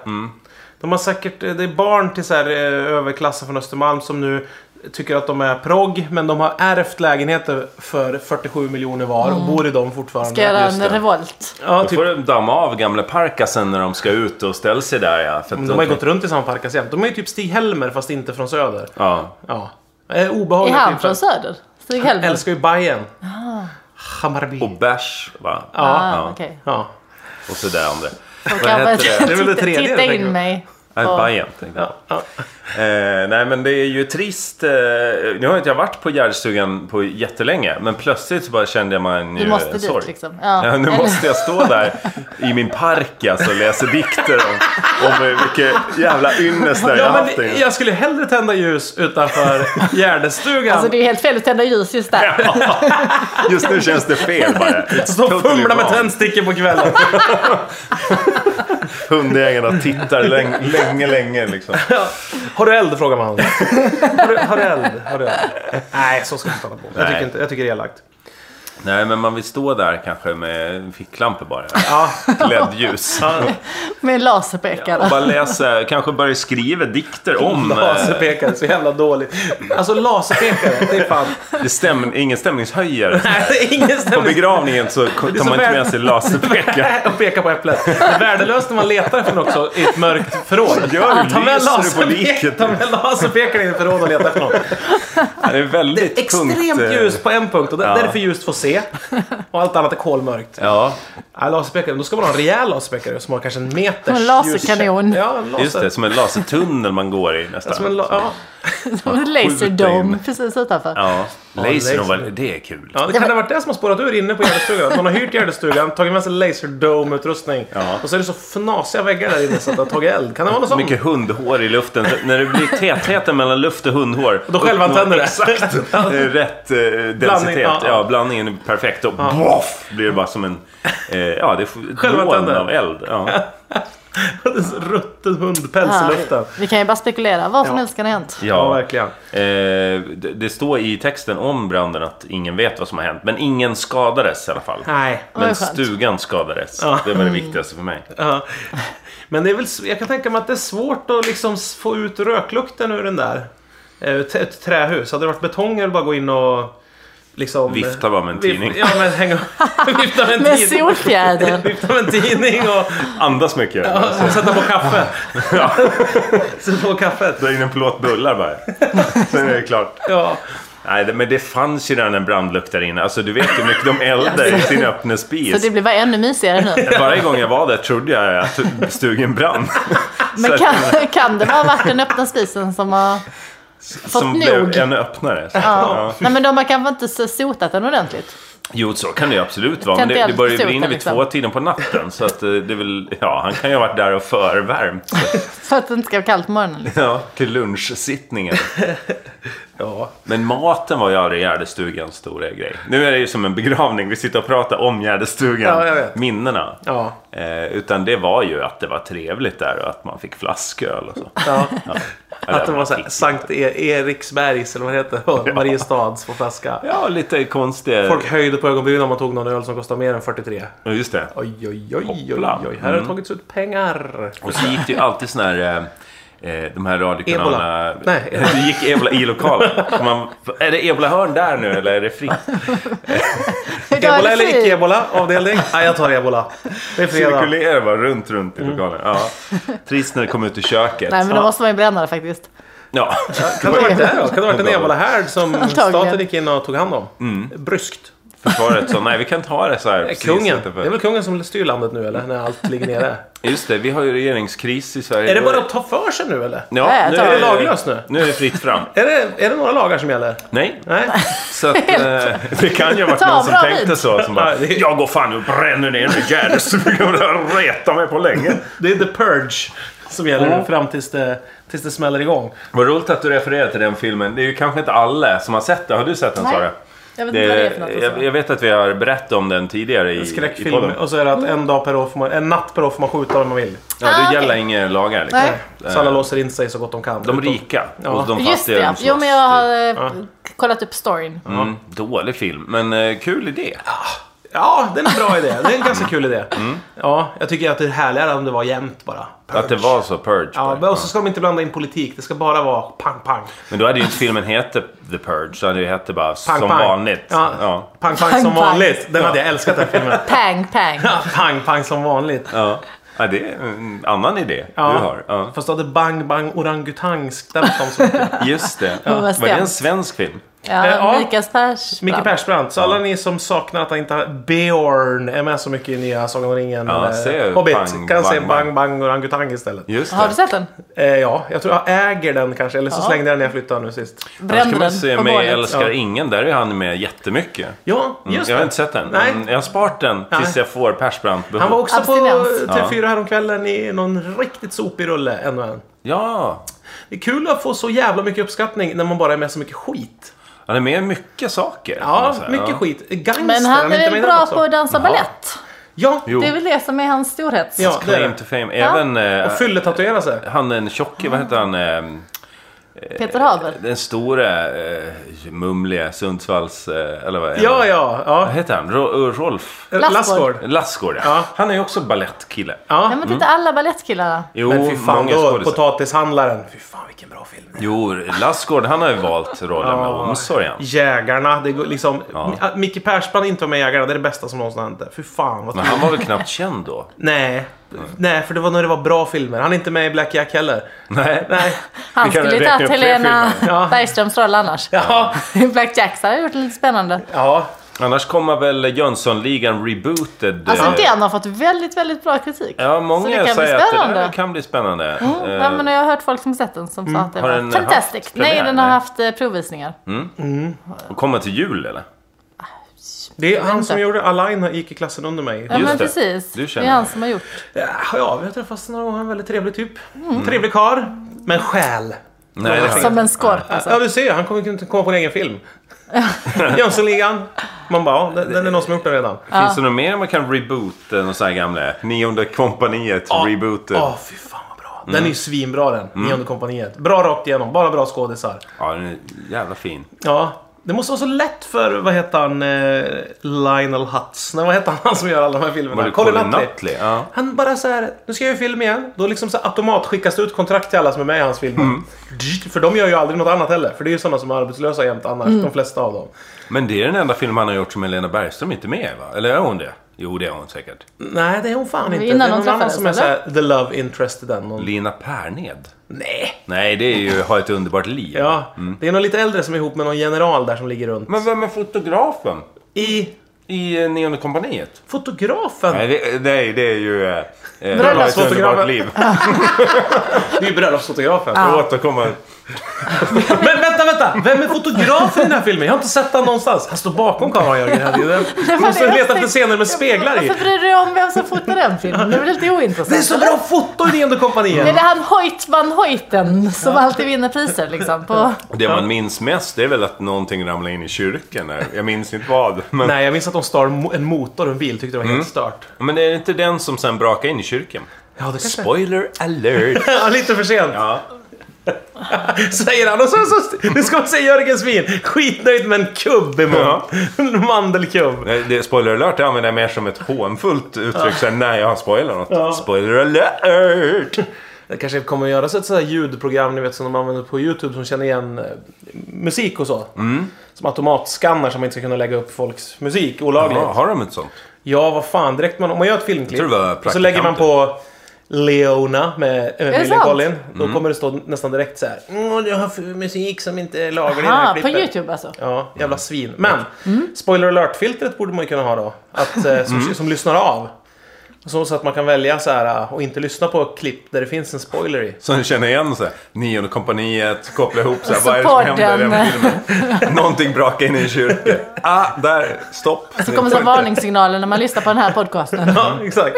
Speaker 2: De har säkert, det är barn till så här, eh, överklassen från Östermalm som nu tycker att de är progg, men de har ärvt lägenheter för 47 miljoner var och bor i dem fortfarande.
Speaker 3: Mm. Ska göra
Speaker 1: just
Speaker 3: en
Speaker 1: det.
Speaker 3: revolt.
Speaker 2: Ja,
Speaker 1: Då
Speaker 2: typ.
Speaker 1: får de damma av gamla parkasen när de ska ut och ställa sig där ja. För att
Speaker 2: De har ju gått runt i samma parkas jämt. De är ju typ Stig-Helmer fast inte från Söder.
Speaker 1: Ja.
Speaker 2: Ja. Eh,
Speaker 3: Är
Speaker 2: Obehagliga
Speaker 3: han
Speaker 2: typer.
Speaker 3: från Söder? Stig Helmer?
Speaker 2: Älskar ju Bajen. Hammarby.
Speaker 1: Och bärs va?
Speaker 2: Ja.
Speaker 3: Ah,
Speaker 1: Ja.
Speaker 3: okej.
Speaker 2: ja.
Speaker 1: Och sådär om det.
Speaker 3: Folk
Speaker 1: Vad
Speaker 3: har
Speaker 1: heter
Speaker 3: bara
Speaker 1: det?
Speaker 2: Det är väl det tredje,
Speaker 3: Titta
Speaker 2: tänker jag.
Speaker 3: in mig.
Speaker 1: Ja, Bajen tänkte jag.
Speaker 2: ja.
Speaker 1: Eh, nej men det är ju trist. Eh, nu har inte jag varit på Gärdsstugan på jättelänge. Men plötsligt så bara kände man ju
Speaker 3: Du måste
Speaker 1: eh,
Speaker 3: dit
Speaker 1: sorg.
Speaker 3: liksom. Ja.
Speaker 1: Ja, nu måste jag stå där i min park alltså och läsa dikter om, om eh, vilket jävla ynnest där jag
Speaker 2: Ja,
Speaker 1: haft.
Speaker 2: men
Speaker 1: det.
Speaker 2: jag skulle hellre tända ljus utanför Gärdestugan.
Speaker 3: Alltså det är helt fel att tända ljus just där.
Speaker 1: Just nu känns det fel bara. It's
Speaker 2: Som
Speaker 1: totally
Speaker 2: fumlar med
Speaker 1: wrong.
Speaker 2: tändstickor på kvällen.
Speaker 1: Hundägarna tittar länge, länge, länge liksom.
Speaker 2: Ja. Har du eld? frågar man. Har du, har du eld? Har du eld? Nej, så ska man inte hålla på. Jag tycker,
Speaker 1: Nej.
Speaker 2: inte, jag tycker det är elakt.
Speaker 1: Nej, men man vill stå där kanske med en ficklampa bara.
Speaker 2: Ja.
Speaker 1: LED-ljus.
Speaker 3: Med en laserpekare.
Speaker 1: Och bara läsa, kanske börja skriva dikter om... eh,
Speaker 2: Laserpekare, så jävla dåligt. Alltså laserpekare, det är fan...
Speaker 1: eh, Det stäm, ingen stämningshöjare.
Speaker 2: Nej, det är ingen
Speaker 1: På
Speaker 2: stämning.
Speaker 1: begravningen så tar man
Speaker 2: så
Speaker 1: inte
Speaker 2: väl-
Speaker 1: med sig laserpekare.
Speaker 2: Och peka på äpplet. Värdelöst när man letar efter något också i ett mörkt förråd.
Speaker 1: Gör du?
Speaker 2: Ta med,
Speaker 1: Lyser du på
Speaker 2: laserpek-
Speaker 1: liket?
Speaker 2: ta med laserpekaren i ett förråd och leta efter något.
Speaker 1: Det är väldigt
Speaker 2: Extremt
Speaker 1: tungt, eh,
Speaker 2: ljus på en punkt och där,
Speaker 1: ja.
Speaker 2: där är det för ljust för att se. Och allt annat är kolmörkt.
Speaker 1: Ja,
Speaker 2: Ja, laserpekare, då ska man ha en rejäl laserpekare som har kanske en meters
Speaker 3: En laserkanon.
Speaker 2: ljuskä- Ja, en laser.
Speaker 1: just det. Som en lasertunnel man går i nästan.
Speaker 2: Som en la- ja.
Speaker 1: skjuter
Speaker 3: Laserdome
Speaker 1: in.
Speaker 3: precis utanför.
Speaker 1: Ja, laser,
Speaker 2: laser.
Speaker 1: var, det är kul.
Speaker 2: Ja, det kan ha varit det som har spårat ur inne på Gärdestugan. Att man har hyrt Gärdestugan, tagit med sig Laserdome-utrustning
Speaker 1: Ja.
Speaker 2: och så är det så fnasiga väggar där inne så att det har tagit eld. Kan det vara något sånt?
Speaker 1: Mycket hundhår i luften. Så När det blir tätheten mellan luft och hundhår.
Speaker 2: Då själva
Speaker 1: uppnår
Speaker 2: tänder det.
Speaker 1: Exakt. eh, Rätt eh, densitet.
Speaker 2: ja,
Speaker 1: ja.
Speaker 2: ja.
Speaker 1: blandningen är perfekt. Och boff, blir det bara som en... Eh, ja, det är
Speaker 2: Själva
Speaker 1: själva
Speaker 2: tänder.
Speaker 1: av eld. Ja.
Speaker 2: Det är så Rutten hundpäls
Speaker 3: Ja,
Speaker 2: i luften.
Speaker 3: vi kan ju bara spekulera. Vad som
Speaker 2: Ja.
Speaker 3: helst kan ha hänt.
Speaker 2: Ja,
Speaker 1: Ja.
Speaker 2: verkligen.
Speaker 1: Eh, det, det står i texten om branden att ingen vet vad som har hänt. Men ingen skadades i alla fall.
Speaker 2: Nej.
Speaker 3: Vad
Speaker 1: Men
Speaker 3: skönt.
Speaker 1: stugan skadades.
Speaker 2: Ja.
Speaker 1: Det var det viktigaste för mig.
Speaker 2: Ja. Men det är väl, s- jag kan tänka mig att det är svårt att liksom s- få ut röklukten ur den där. Eh, t- Ett trähus. Hade det varit betong eller bara gå in och liksom...
Speaker 1: Vifta bara med en
Speaker 2: Vif-
Speaker 1: tidning.
Speaker 2: Ja, men hänga... Vifta med en
Speaker 3: Med
Speaker 2: tidning.
Speaker 3: solfjäder.
Speaker 2: Vifta med en tidning och,
Speaker 1: Andas mycket.
Speaker 2: och sätta på kaffe. Sätta på kaffet.
Speaker 1: Dra in en plåt bullar bara. Sen är det klart.
Speaker 2: Ja.
Speaker 1: Nej, det- men det fanns ju redan en brandlukt där inne. Alltså, du vet hur mycket de eldar i sin öppna
Speaker 3: Så
Speaker 1: spis.
Speaker 3: det blir bara ännu mysigare nu.
Speaker 1: Varje gång jag var där trodde jag att stugan brann.
Speaker 3: Men kan, kan det ha varit den öppna spisen som har... fått
Speaker 1: som
Speaker 3: nog.
Speaker 1: blev ännu öppnare. Så-
Speaker 3: Ja. Nej men de har kanske inte så- sotat den ordentligt.
Speaker 1: Jo, så kan det ju absolut vara. Men det,
Speaker 3: Tänt
Speaker 1: det började ju
Speaker 3: eld på
Speaker 1: brinna vid
Speaker 3: liksom.
Speaker 1: två tiden på natten. Så att eh, det är väl, ja, han kan ju ha varit där och förvärmt.
Speaker 3: För att det inte ska vara kallt på morgonen. Liksom.
Speaker 1: Ja, till lunchsittningen.
Speaker 2: ja.
Speaker 1: Men maten var ju aldrig Gärdestugans stora grej. Nu är det ju som en begravning. Vi sitter och pratar om
Speaker 2: Ja, jag
Speaker 1: Gärdestugan.
Speaker 2: vet.
Speaker 1: minnena.
Speaker 2: Ja.
Speaker 1: Eh, utan det var ju att det var trevligt där och att man fick flasköl och så.
Speaker 2: ja.
Speaker 1: Eller
Speaker 2: Att det var
Speaker 1: man
Speaker 2: så här,
Speaker 1: fick-
Speaker 2: Sankt E- Eriksbergs eller vad det heter. Mariestads på flaska.
Speaker 1: Ja, lite konstiga...
Speaker 2: Folk höjde på ögonbrynen om man tog någon öl som kostade mer än 43.
Speaker 1: Ja, Just det.
Speaker 2: Oj, oj, oj, oj,
Speaker 1: Hoppla. Mm.
Speaker 2: oj. Här har det tagits ut pengar.
Speaker 1: Och så gick det ju alltid såna här... eh, eh, De här radiokanalerna...
Speaker 2: Ebola. Nej, ebola.
Speaker 1: Det gick ebola i lokalen. Så Man, är det ebolahörn där nu eller är det fritt?
Speaker 3: Idag är
Speaker 2: Ebola
Speaker 3: det
Speaker 2: eller
Speaker 3: fri.
Speaker 2: icke ebola? Avdelning? Nej, jag tar ebola. Det är fredag.
Speaker 1: Cirkulerar bara runt, runt i
Speaker 2: Mm.
Speaker 1: lokalen. Ja. Trist när det kom ut ur köket.
Speaker 3: Nej men då måste man ju bränna det faktiskt.
Speaker 1: Ja.
Speaker 2: Kan det ha varit det då? Kan det ha varit en ebolahärd som
Speaker 3: Antagligen.
Speaker 2: staten gick in och tog hand om? Bryskt.
Speaker 1: Försvaret sa nej, vi kan ta det så här. Mm. precis
Speaker 2: Kungen. Det
Speaker 1: utanför."
Speaker 2: är väl kungen som styr landet nu eller? När allt ligger nere.
Speaker 1: Just det, vi har ju regeringskris i Sverige.
Speaker 2: Är det bara att ta för sig nu eller?
Speaker 1: Ja,
Speaker 3: Nej,
Speaker 1: nu
Speaker 3: ta-
Speaker 1: är det
Speaker 2: Är det laglöst nu?
Speaker 1: Nu är det fritt fram.
Speaker 2: Är det, är det några lagar som gäller?
Speaker 1: Nej,
Speaker 2: Nej?
Speaker 1: så att, eh, det kan ju ha varit
Speaker 3: Ta
Speaker 1: någon som
Speaker 3: bra
Speaker 1: tänkte
Speaker 3: bit.
Speaker 1: så. Som bara,
Speaker 2: Nej, det-
Speaker 1: jag går fan och bränner ner nu Gärdestugan. Det har retat mig på länge.
Speaker 2: Det är the purge som gäller nu fram tills det, tills det smäller igång.
Speaker 1: Vad roligt att du refererar till den filmen. Det är ju kanske inte alla som har sett den. Har du sett den
Speaker 3: Nej.
Speaker 1: Sara?
Speaker 3: Jag vet inte vad det är för något också.
Speaker 1: jag, jag vet att vi har berättat om den tidigare i,
Speaker 2: En
Speaker 1: i
Speaker 2: skräckfilm.
Speaker 1: podden.
Speaker 2: Och så är det att en, dag per år får man, en natt per år får man skjuta vem man vill.
Speaker 1: Ja, det
Speaker 3: Ah, okej.
Speaker 1: gäller inga lagar liksom.
Speaker 3: Nej.
Speaker 2: Så alla låser in sig så gott de kan.
Speaker 1: De
Speaker 2: Utom-
Speaker 1: rika
Speaker 2: Ja.
Speaker 1: och de
Speaker 3: Just det,
Speaker 1: fattiga
Speaker 3: ja.
Speaker 1: de slåss. typ.
Speaker 3: Jo, men jag har eh,
Speaker 2: Ja.
Speaker 3: kollat upp storyn.
Speaker 1: mm, Dålig film, men eh, kul idé.
Speaker 2: Ja, det är en bra idé. Det är en ganska kul idé. Ja, jag tycker att det är härligare om det var jämnt bara.
Speaker 1: Att det var så Purge.
Speaker 2: Ja,
Speaker 1: Purge.
Speaker 2: men och så ska de inte blanda in politik. Det ska bara vara pang, pang.
Speaker 1: Men då hade ju inte filmen hetat The Purge, så hade det hette bara
Speaker 2: Pang,
Speaker 1: Som
Speaker 2: pang.
Speaker 1: vanligt.
Speaker 2: Ja.
Speaker 1: Ja.
Speaker 2: Pang, pang,
Speaker 3: Pang,
Speaker 2: som
Speaker 3: pang.
Speaker 2: vanligt. Den hade jag älskat den filmen.
Speaker 3: Pang, pang.
Speaker 2: Ja, pang, pang som vanligt.
Speaker 1: Ja. Ja, det är en annan idé
Speaker 2: Ja.
Speaker 1: du har. Ja.
Speaker 2: Fast då hade Bang Bang Orangutang stämt dem så mycket.
Speaker 1: Just det.
Speaker 3: Oh, vad
Speaker 1: Var det en
Speaker 3: sent.
Speaker 1: svensk film?
Speaker 3: Ja,
Speaker 2: Eh, ja.
Speaker 3: Mikael Persbrandt.
Speaker 2: Micke Persbrandt. Så alla ni som saknar att han inte har Bjorn är med så mycket i nya Sagan om ringen.
Speaker 1: Ja,
Speaker 2: eller
Speaker 1: se
Speaker 2: Hobbit.
Speaker 1: Bang,
Speaker 2: kan se
Speaker 1: Bang,
Speaker 2: Bang Bang Orangutang istället.
Speaker 1: Just det.
Speaker 3: Har du sett den?
Speaker 2: Eh, ja, jag tror jag äger den kanske. Eller så
Speaker 3: Ja.
Speaker 2: slängde jag den när jag flyttade nu sist.
Speaker 1: Annars
Speaker 3: Brände
Speaker 1: kan
Speaker 3: den
Speaker 1: man se
Speaker 3: på
Speaker 1: Mig
Speaker 3: bålet.
Speaker 1: älskar
Speaker 2: Ja.
Speaker 1: ingen. Där är han med jättemycket.
Speaker 2: Ja,
Speaker 1: Mm,
Speaker 2: just
Speaker 1: jag har
Speaker 2: det.
Speaker 1: inte sett den. Mm.
Speaker 2: Nej.
Speaker 1: Men jag har sparat den tills
Speaker 2: Nej.
Speaker 1: jag får Persbrandt behov.
Speaker 2: Han var också
Speaker 3: Abstinens.
Speaker 2: på TV4 häromkvällen i någon riktigt sopig rulle. Ännu en.
Speaker 1: Ja,
Speaker 2: Det är kul att få så jävla mycket uppskattning när man bara är med så mycket skit.
Speaker 1: han är med i mycket saker. kan man
Speaker 2: Ja,
Speaker 1: säga.
Speaker 2: mycket
Speaker 1: ja.
Speaker 2: skit. Gangster,
Speaker 3: Men han
Speaker 2: inte
Speaker 3: är väl
Speaker 2: med
Speaker 3: bra
Speaker 2: också?
Speaker 3: på att dansa balett?
Speaker 2: Ja,
Speaker 1: Jo.
Speaker 3: Det är väl det som är hans storhet?
Speaker 2: Ja. det är
Speaker 1: Claim
Speaker 2: det.
Speaker 1: to fame. Även eh,
Speaker 2: och fylletatuera sig.
Speaker 1: han den tjocke, vad heter han? Eh,
Speaker 3: Peter Haber.
Speaker 1: den stora eh, mumliga Sundsvalls... Eh, eller vad
Speaker 2: Ja, ja, ja.
Speaker 1: Vad heter han? Ro- eh, Rolf?
Speaker 3: Lassgård.
Speaker 2: Lassgård.
Speaker 1: Lassgård, ja.
Speaker 2: Ja.
Speaker 1: Han är ju också balettkille.
Speaker 3: Nej,
Speaker 2: Ja.
Speaker 3: men titta alla balettkillarna.
Speaker 1: Jo,
Speaker 2: Men fy fan
Speaker 1: många
Speaker 2: då,
Speaker 1: skådisar.
Speaker 2: Potatishandlaren. Fy fan vilken bra film.
Speaker 1: Jo, Lassgård, han har ju valt rollen med omsorg. han.
Speaker 2: Jägarna, det går liksom...
Speaker 1: Ja.
Speaker 2: Att Micke Persbrandt inte var med i Jägarna, det är det bästa som någonsin har hänt. Fy fan vad
Speaker 1: Men han var väl knappt känd då?
Speaker 2: Nej. Nej, för det var när det var bra filmer. Han är inte med i Black Jack heller.
Speaker 1: Nej.
Speaker 2: Nej.
Speaker 3: Han
Speaker 1: Vi kan
Speaker 3: skulle
Speaker 1: räkna
Speaker 3: tagit
Speaker 1: upp fler
Speaker 3: Helena
Speaker 1: filmer.
Speaker 2: Ja.
Speaker 3: Bergströms roll annars.
Speaker 2: Ja.
Speaker 3: Black Jacks hade gjort det lite spännande.
Speaker 2: Ja.
Speaker 1: Annars kommer väl Jönssonligan rebooted.
Speaker 3: Alltså
Speaker 1: eh,
Speaker 3: den har fått väldigt, väldigt bra kritik.
Speaker 1: Ja,
Speaker 3: Så det
Speaker 1: många
Speaker 3: kan bli
Speaker 1: säger att det där
Speaker 3: spännande.
Speaker 1: kan bli spännande.
Speaker 3: Mm,
Speaker 1: Eh, mm.
Speaker 3: ja, men jag har hört folk som sett den som sa att det
Speaker 1: Har
Speaker 3: var
Speaker 1: den
Speaker 3: fantastic.
Speaker 1: haft premiär?
Speaker 3: Nej, den har
Speaker 1: Nej. Mm,
Speaker 3: haft eh, provvisningar.
Speaker 1: Eh, och Kommer till jul eller?
Speaker 2: Det är
Speaker 3: vet
Speaker 2: han som
Speaker 3: inte.
Speaker 2: gjorde Alain gick i klassen under mig.
Speaker 3: Ja,
Speaker 1: Just
Speaker 3: men
Speaker 1: det.
Speaker 3: precis.
Speaker 1: Du
Speaker 3: Det
Speaker 1: känner
Speaker 3: är han som har gjort.
Speaker 2: Ja, ja, vi har träffats några gånger. En väldigt trevlig typ.
Speaker 3: Mm.
Speaker 2: Trevlig karl. Men själ.
Speaker 1: Nej, det har jag
Speaker 3: Som
Speaker 1: inte.
Speaker 3: en skorp alltså.
Speaker 2: Ja, du ser. Han kommer inte komma på en egen film. Jönssonligan. Man bara, ja, den, den är någon som har gjort den redan.
Speaker 1: Finns det något mer man kan reboota? Någon sån här gamla Nionde kompaniet
Speaker 2: Ja. Mm.
Speaker 1: rebooted.
Speaker 2: Ja, fy fan vad bra. Den är ju svinbra den. Nionde kompaniet. Bra rakt igenom. Bara bra skådisar.
Speaker 1: Ja, den är jävla fin.
Speaker 2: Ja. Det måste vara så lätt för, vad heter han, eh, Lionel Hutz? Nej, vad heter han, han som gör alla de här filmerna?
Speaker 1: Var det
Speaker 2: Colin
Speaker 1: Colin
Speaker 2: Nutley.
Speaker 1: Nutley? Ja.
Speaker 2: Han bara så här, nu ska jag göra film igen. Då liksom så här automat skickas det ut kontrakt till alla som är med i hans filmer.
Speaker 1: Mm.
Speaker 2: För de gör ju aldrig något annat heller. För det är ju sådana som är arbetslösa jämt annars,
Speaker 3: Mm.
Speaker 2: de flesta av dem.
Speaker 1: Men det är den enda film han har gjort som Helena Bergström inte är med i, va? Eller är hon det? Jo, det är hon säkert.
Speaker 2: Nej, det är hon fan inte.
Speaker 3: innan
Speaker 2: det är
Speaker 3: de
Speaker 2: någon annan
Speaker 3: träffades,
Speaker 2: som är så här, the love interest i den. Någon...
Speaker 1: Lina Perned?
Speaker 2: Nej.
Speaker 1: Nej, det är ju Ha ett underbart liv.
Speaker 2: Ja, det är någon lite äldre som är ihop med någon general där som ligger runt.
Speaker 1: Mm. Men vem är fotografen
Speaker 2: I
Speaker 1: i eh, Nionde kompaniet?
Speaker 2: fotografen.
Speaker 1: Nej, det, nej, det är ju... Eh, eh, Ha ett
Speaker 2: Bröllopsfotografen.
Speaker 1: underbart liv.
Speaker 2: Det är ju bröllopsfotografen.
Speaker 3: Ah.
Speaker 1: Jag återkommer.
Speaker 2: Men vänta, vänta! Vem är fotografen i den här filmen? Jag har inte sett honom någonstans. Han står bakom kameran, Jörgen. Hedin. Du måste
Speaker 3: jag
Speaker 2: leta
Speaker 3: tänkte.
Speaker 2: efter scener med speglar i.
Speaker 3: Varför bryr du dig om vem som fotar den filmen? Det är väl lite
Speaker 2: Det är
Speaker 3: ointressant?
Speaker 2: så bra foto i Nionde
Speaker 3: Det är
Speaker 2: kompaniet.
Speaker 3: det han Hoytman Hoyten som alltid vinner priser liksom. På...
Speaker 1: Det man minns mest det är väl att någonting ramlade in i kyrkan. här. Jag minns inte vad. Men,
Speaker 2: Nej, jag minns att de stal mo- en motor och en bil. Tyckte det var helt stört.
Speaker 1: men är det inte den som sen brakade in i kyrkan?
Speaker 2: Ja, det kanske...
Speaker 1: Spoiler alert!
Speaker 2: Ja, lite för sent.
Speaker 1: Ja.
Speaker 2: Säger han. Och så, så, nu ska man se Jörgens min. Skitnöjd med en kubb i munnen.
Speaker 1: Ja.
Speaker 2: En mandelkubb.
Speaker 1: Nej, det, spoiler alert det använder jag mer som ett hånfullt uttryck. Sen när jag har spoilat något.
Speaker 2: Ja.
Speaker 1: Spoiler alert!
Speaker 2: Det kanske kommer att göras ett sånt här ljudprogram ni vet, som de använder på YouTube som känner igen eh, musik och så. Som automatskannar så man inte ska kunna lägga upp folks musik olagligt.
Speaker 1: Ja, har de ett sånt?
Speaker 2: Ja, vad fan. Direkt man, om man gör ett filmklipp
Speaker 1: Jag tror det var
Speaker 2: och så lägger man på Leona med
Speaker 3: det
Speaker 2: Emily
Speaker 3: sant?
Speaker 2: Collin. Då
Speaker 1: Mm.
Speaker 2: kommer det stå nästan direkt så här. "Åh, Jag har för musik som inte är laglig i det här
Speaker 3: Aha, på
Speaker 2: klippet.
Speaker 3: Youtube Mm. alltså.
Speaker 2: Ja,
Speaker 1: Mm.
Speaker 2: jävla svin. Men spoiler alert-filtret borde man ju kunna ha då. Att, eh, som,
Speaker 1: Mm.
Speaker 2: som lyssnar av. Så, så att man kan välja så här eh, och inte lyssna på klipp där det finns en spoiler i.
Speaker 1: Så ni känner igen så här, Nionde kompaniet, koppla ihop så här,
Speaker 3: Och så
Speaker 1: vad är det som händer
Speaker 3: podden.
Speaker 1: i den här filmen? Någonting brakar in i en kyrka. Ah, där, stopp.
Speaker 3: Så kommer så varningssignaler när man lyssnar på den här podcasten.
Speaker 2: Ja, exakt.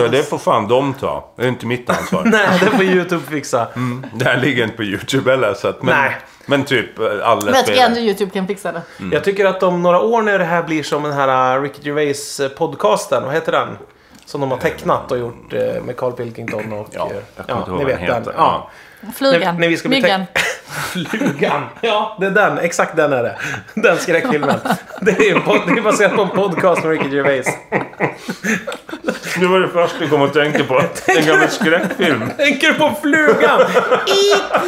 Speaker 1: Det, det får fan de ta. Det är inte mitt ansvar.
Speaker 2: Nej, det får YouTube fixa.
Speaker 1: Mm, Det här ligger inte på YouTube heller. Så att, men,
Speaker 2: Nej.
Speaker 1: men typ eh, alla
Speaker 3: Men jag tycker
Speaker 1: spelare.
Speaker 3: ändå YouTube kan fixa det.
Speaker 1: Mm.
Speaker 2: Jag tycker att om några år när det här blir som den här eh, Ricky Gervais-podcasten, vad heter den? Som de har tecknat och gjort eh, med Carl Pilkington och...
Speaker 1: Ja,
Speaker 2: eh,
Speaker 1: jag kommer inte ihåg vad den heter.
Speaker 2: Ja.
Speaker 3: Flugan.
Speaker 2: När- när vi ska bli
Speaker 3: Myggan.
Speaker 2: Flugan! Ja, det är den. Exakt den är det. Den skräckfilmen. Det är ju en pod- det är baserat på en podcast med Ricky Gervais.
Speaker 1: Det var det första jag kom att tänka på. En gammal skräckfilm.
Speaker 2: Tänker du på flugan?
Speaker 3: Eat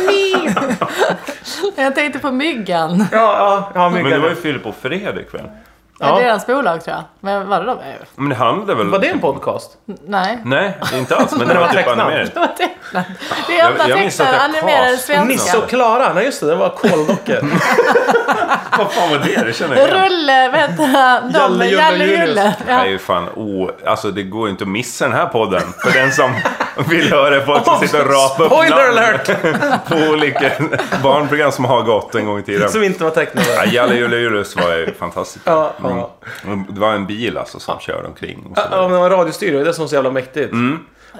Speaker 3: me! jag tänkte på Myggan. Ja.
Speaker 2: Ja, ja, ja
Speaker 1: Men det
Speaker 2: mycket.
Speaker 1: var ju Filip och Fredrik väl?
Speaker 2: Ja.
Speaker 3: Det är deras bolag tror jag. Men var det de? Nej,
Speaker 1: Men det handlade väl...
Speaker 2: Var det en podcast?
Speaker 3: Nej.
Speaker 1: Nej, inte alls. Men det
Speaker 2: Men
Speaker 1: var
Speaker 2: det var
Speaker 1: typ
Speaker 2: tecknat.
Speaker 1: animerat.
Speaker 3: Det var tecknat. Det är
Speaker 1: Jag-
Speaker 3: enda
Speaker 1: jag minns att
Speaker 3: tecknade
Speaker 1: det är
Speaker 3: animerade
Speaker 1: cast.
Speaker 2: Nisse
Speaker 3: svenska.
Speaker 2: och Klara, nej just det, det var koldockor.
Speaker 1: Vad fan var det? Det känner jag igen.
Speaker 3: Rulle, vad heter han? De-
Speaker 2: Jalle, Julle,
Speaker 3: Jalle
Speaker 2: Julius.
Speaker 3: Julle.
Speaker 1: Det är
Speaker 3: Ja.
Speaker 1: ju fan o... Alltså det går ju inte att missa den här podden. För den som vill höra folk som sitter och rapar upp
Speaker 2: Spoiler
Speaker 1: namn
Speaker 2: alert!
Speaker 1: på olika barnprogram som har gått en gång i tiden.
Speaker 2: Som inte var tecknade.
Speaker 1: Ja, Jalle Julle Julius var ju fantastiskt.
Speaker 2: Ja, ja.
Speaker 1: Mm. Det var en bil alltså som körde omkring. Och så
Speaker 2: Ja, men det var radiostyrd, det är det som är så jävla mäktigt.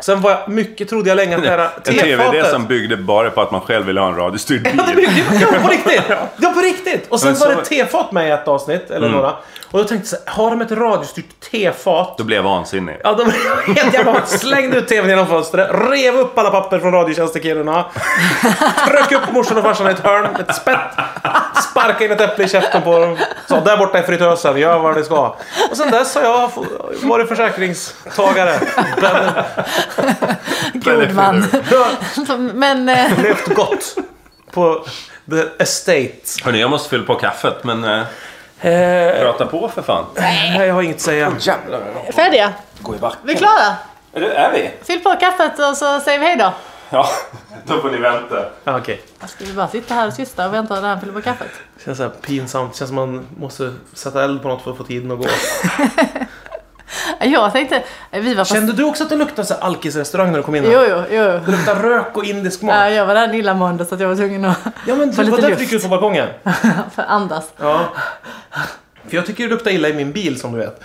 Speaker 2: Sen var jag, mycket trodde jag länge att det här
Speaker 1: En tv-idé
Speaker 2: tefatet-
Speaker 1: som byggde bara på att man själv ville ha en radiostyrd
Speaker 2: Ja,
Speaker 1: bil.
Speaker 2: det- ja, på riktigt! Ja, på riktigt! Och sen
Speaker 1: Men så-
Speaker 2: var det ett tefat med i ett avsnitt, eller några. Och då tänkte jag så här, har de ett radiostyrt tefat?
Speaker 1: Då blev jag vansinnig.
Speaker 2: Ja, de helt jävla slängde ut tvn genom fönstret, rev upp alla papper från radiotjänstekillarna, tryck upp morsan och farsan i ett hörn med ett spett, sparka in ett äpple i käften på dem. Så där borta är fritösen, gör vad ni ska. Och sen dess har jag f- varit försäkringstagare. Ben-
Speaker 3: God man. Men eh,
Speaker 2: Levt gott på the estate.
Speaker 1: Hörni, jag måste fylla på kaffet, men eh,
Speaker 2: Eh,
Speaker 1: prata på för fan.
Speaker 2: jag har inget att säga.
Speaker 3: färdiga? Vi är klara.
Speaker 1: Är, det, är vi?
Speaker 3: Fyll på kaffet och så säger vi hej då.
Speaker 1: Ja, då får ni vänta.
Speaker 2: Ja, Ah, okej.
Speaker 3: Ska vi bara sitta här och tysta och vänta när han fyller på kaffet?
Speaker 2: Känns så här pinsamt. Känns som man måste sätta eld på något för att få tiden att gå.
Speaker 3: Jag tänkte, eh, vi var på...
Speaker 2: Kände du också att det luktade så här alkisrestaurang när du kom in? här?
Speaker 3: Jo, jo, jo.
Speaker 2: Det luktar rök och indisk
Speaker 3: Ja,
Speaker 2: mat.
Speaker 3: jag var där illamående så att jag var tvungen att
Speaker 2: Ja men
Speaker 3: Få
Speaker 2: det
Speaker 3: lite
Speaker 2: var därför
Speaker 3: luft.
Speaker 2: du gick ut på balkongen.
Speaker 3: för andas.
Speaker 2: Ja. För jag tycker det luktar illa i min bil som du vet.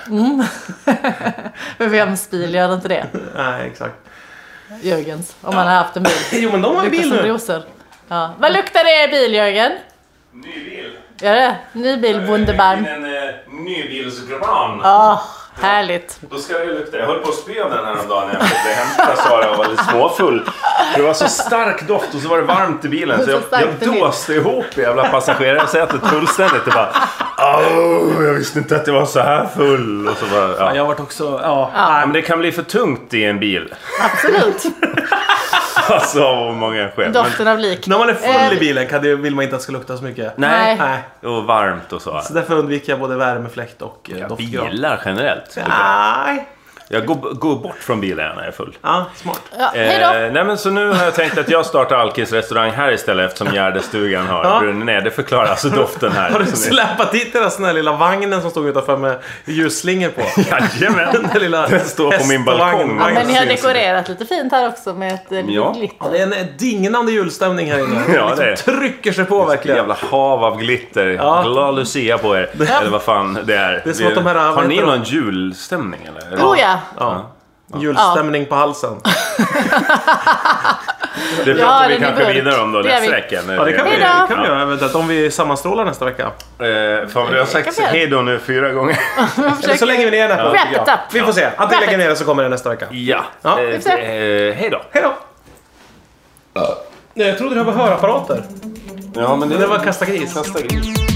Speaker 3: För vems bil gör inte det?
Speaker 2: Nej exakt.
Speaker 3: Jörgens. Om man har haft en bil.
Speaker 2: Jo men de har en
Speaker 3: Luktar
Speaker 2: bil
Speaker 3: som
Speaker 2: nu.
Speaker 3: rosor. Ja. Vad luktar det i er bil Jörgen?
Speaker 1: Ny bil.
Speaker 3: Gör det? Ny bil, Wunderbarm.
Speaker 1: En eh, ny bilsgran.
Speaker 3: Åh, härligt.
Speaker 1: Då ska det lukta. Jag höll på att spy av den häromdagen när jag skulle hämta Sara och var lite småfull. Det var så stark doft och så var det varmt i bilen så
Speaker 3: Så
Speaker 1: jag,
Speaker 3: starkt i
Speaker 1: jag
Speaker 3: bilen.
Speaker 1: dåste ihop i jävla passagerarsätet fullständigt. Det bara... Åh, jag visste inte att det var så här full. Och så bara, ja.
Speaker 2: Ja, Jag har varit också... Ja.
Speaker 1: Ja, men det kan bli för tungt i en bil.
Speaker 3: Absolut.
Speaker 1: Alltså av många skäl. Men,
Speaker 3: Doften av lik.
Speaker 2: När man är full
Speaker 3: Eh,
Speaker 2: i bilen kan det, vill man inte att det ska lukta så mycket.
Speaker 1: nej.
Speaker 3: Nej.
Speaker 2: Nej.
Speaker 1: Och varmt och så.
Speaker 2: Så därför undviker jag både värmefläkt och eh, doftgran.
Speaker 1: Bilar generellt. tycker jag.
Speaker 2: Nej.
Speaker 1: Jag går, går bort från bilar när jag är full.
Speaker 2: Ja, smart.
Speaker 3: Ja, hej då.
Speaker 1: Eh, nej men så nu har jag tänkt att jag startar Alkis restaurang här istället eftersom Gärdestugan har
Speaker 2: Ja.
Speaker 1: brunnit ner. Det förklarar alltså doften här.
Speaker 2: Har du
Speaker 1: Som är-
Speaker 2: släpat dit den där sån här lilla vagnen som stod utanför med ljusslingor på? Den
Speaker 1: Jajamän!
Speaker 2: där lilla
Speaker 1: Den står på min
Speaker 2: hästvagn-
Speaker 1: balkong.
Speaker 2: Ja,
Speaker 3: Men ni har
Speaker 1: syns det.
Speaker 3: dekorerat lite fint här också med ett eh,
Speaker 1: Ja.
Speaker 3: glitter.
Speaker 2: Ja, det är en dignande julstämning här inne.
Speaker 1: Ja,
Speaker 2: liksom
Speaker 1: det är.
Speaker 2: trycker sig på
Speaker 1: Vilket
Speaker 2: verkligen.
Speaker 1: jävla hav av glitter. Glad lucia på er. Eller vad fan det är.
Speaker 2: är som att de här-
Speaker 1: har
Speaker 2: vad
Speaker 1: ni
Speaker 2: heter de?
Speaker 1: någon julstämning eller?
Speaker 3: Oh ja.
Speaker 2: Ja. Julstämning på halsen.
Speaker 1: Det pratar vi
Speaker 3: den är
Speaker 1: kanske
Speaker 3: burk.
Speaker 1: vidare om då
Speaker 3: Det gör vi.
Speaker 1: nästa vecka. när
Speaker 2: Ja, det kan vi,
Speaker 1: är-
Speaker 3: Hej då.
Speaker 2: det kan vi göra eventuellt om vi sammanstrålar nästa vecka.
Speaker 1: Eh, fan, vi har sagt
Speaker 3: Kan vi göra.
Speaker 1: hej då nu fyra gånger.
Speaker 2: Eller så länge vi ner den här
Speaker 3: Wrap
Speaker 2: podden.
Speaker 3: it up.
Speaker 2: Vi får se. Antingen
Speaker 3: Wrap
Speaker 2: lägger vi ner den så kommer den nästa vecka.
Speaker 1: Ja,
Speaker 2: Ja,
Speaker 1: eh,
Speaker 3: vi får se.
Speaker 1: eh, hej då.
Speaker 2: Hej då! Nej, jag trodde det var hörapparater.
Speaker 1: Ja, men
Speaker 2: Det var kasta gris.
Speaker 1: kasta gris.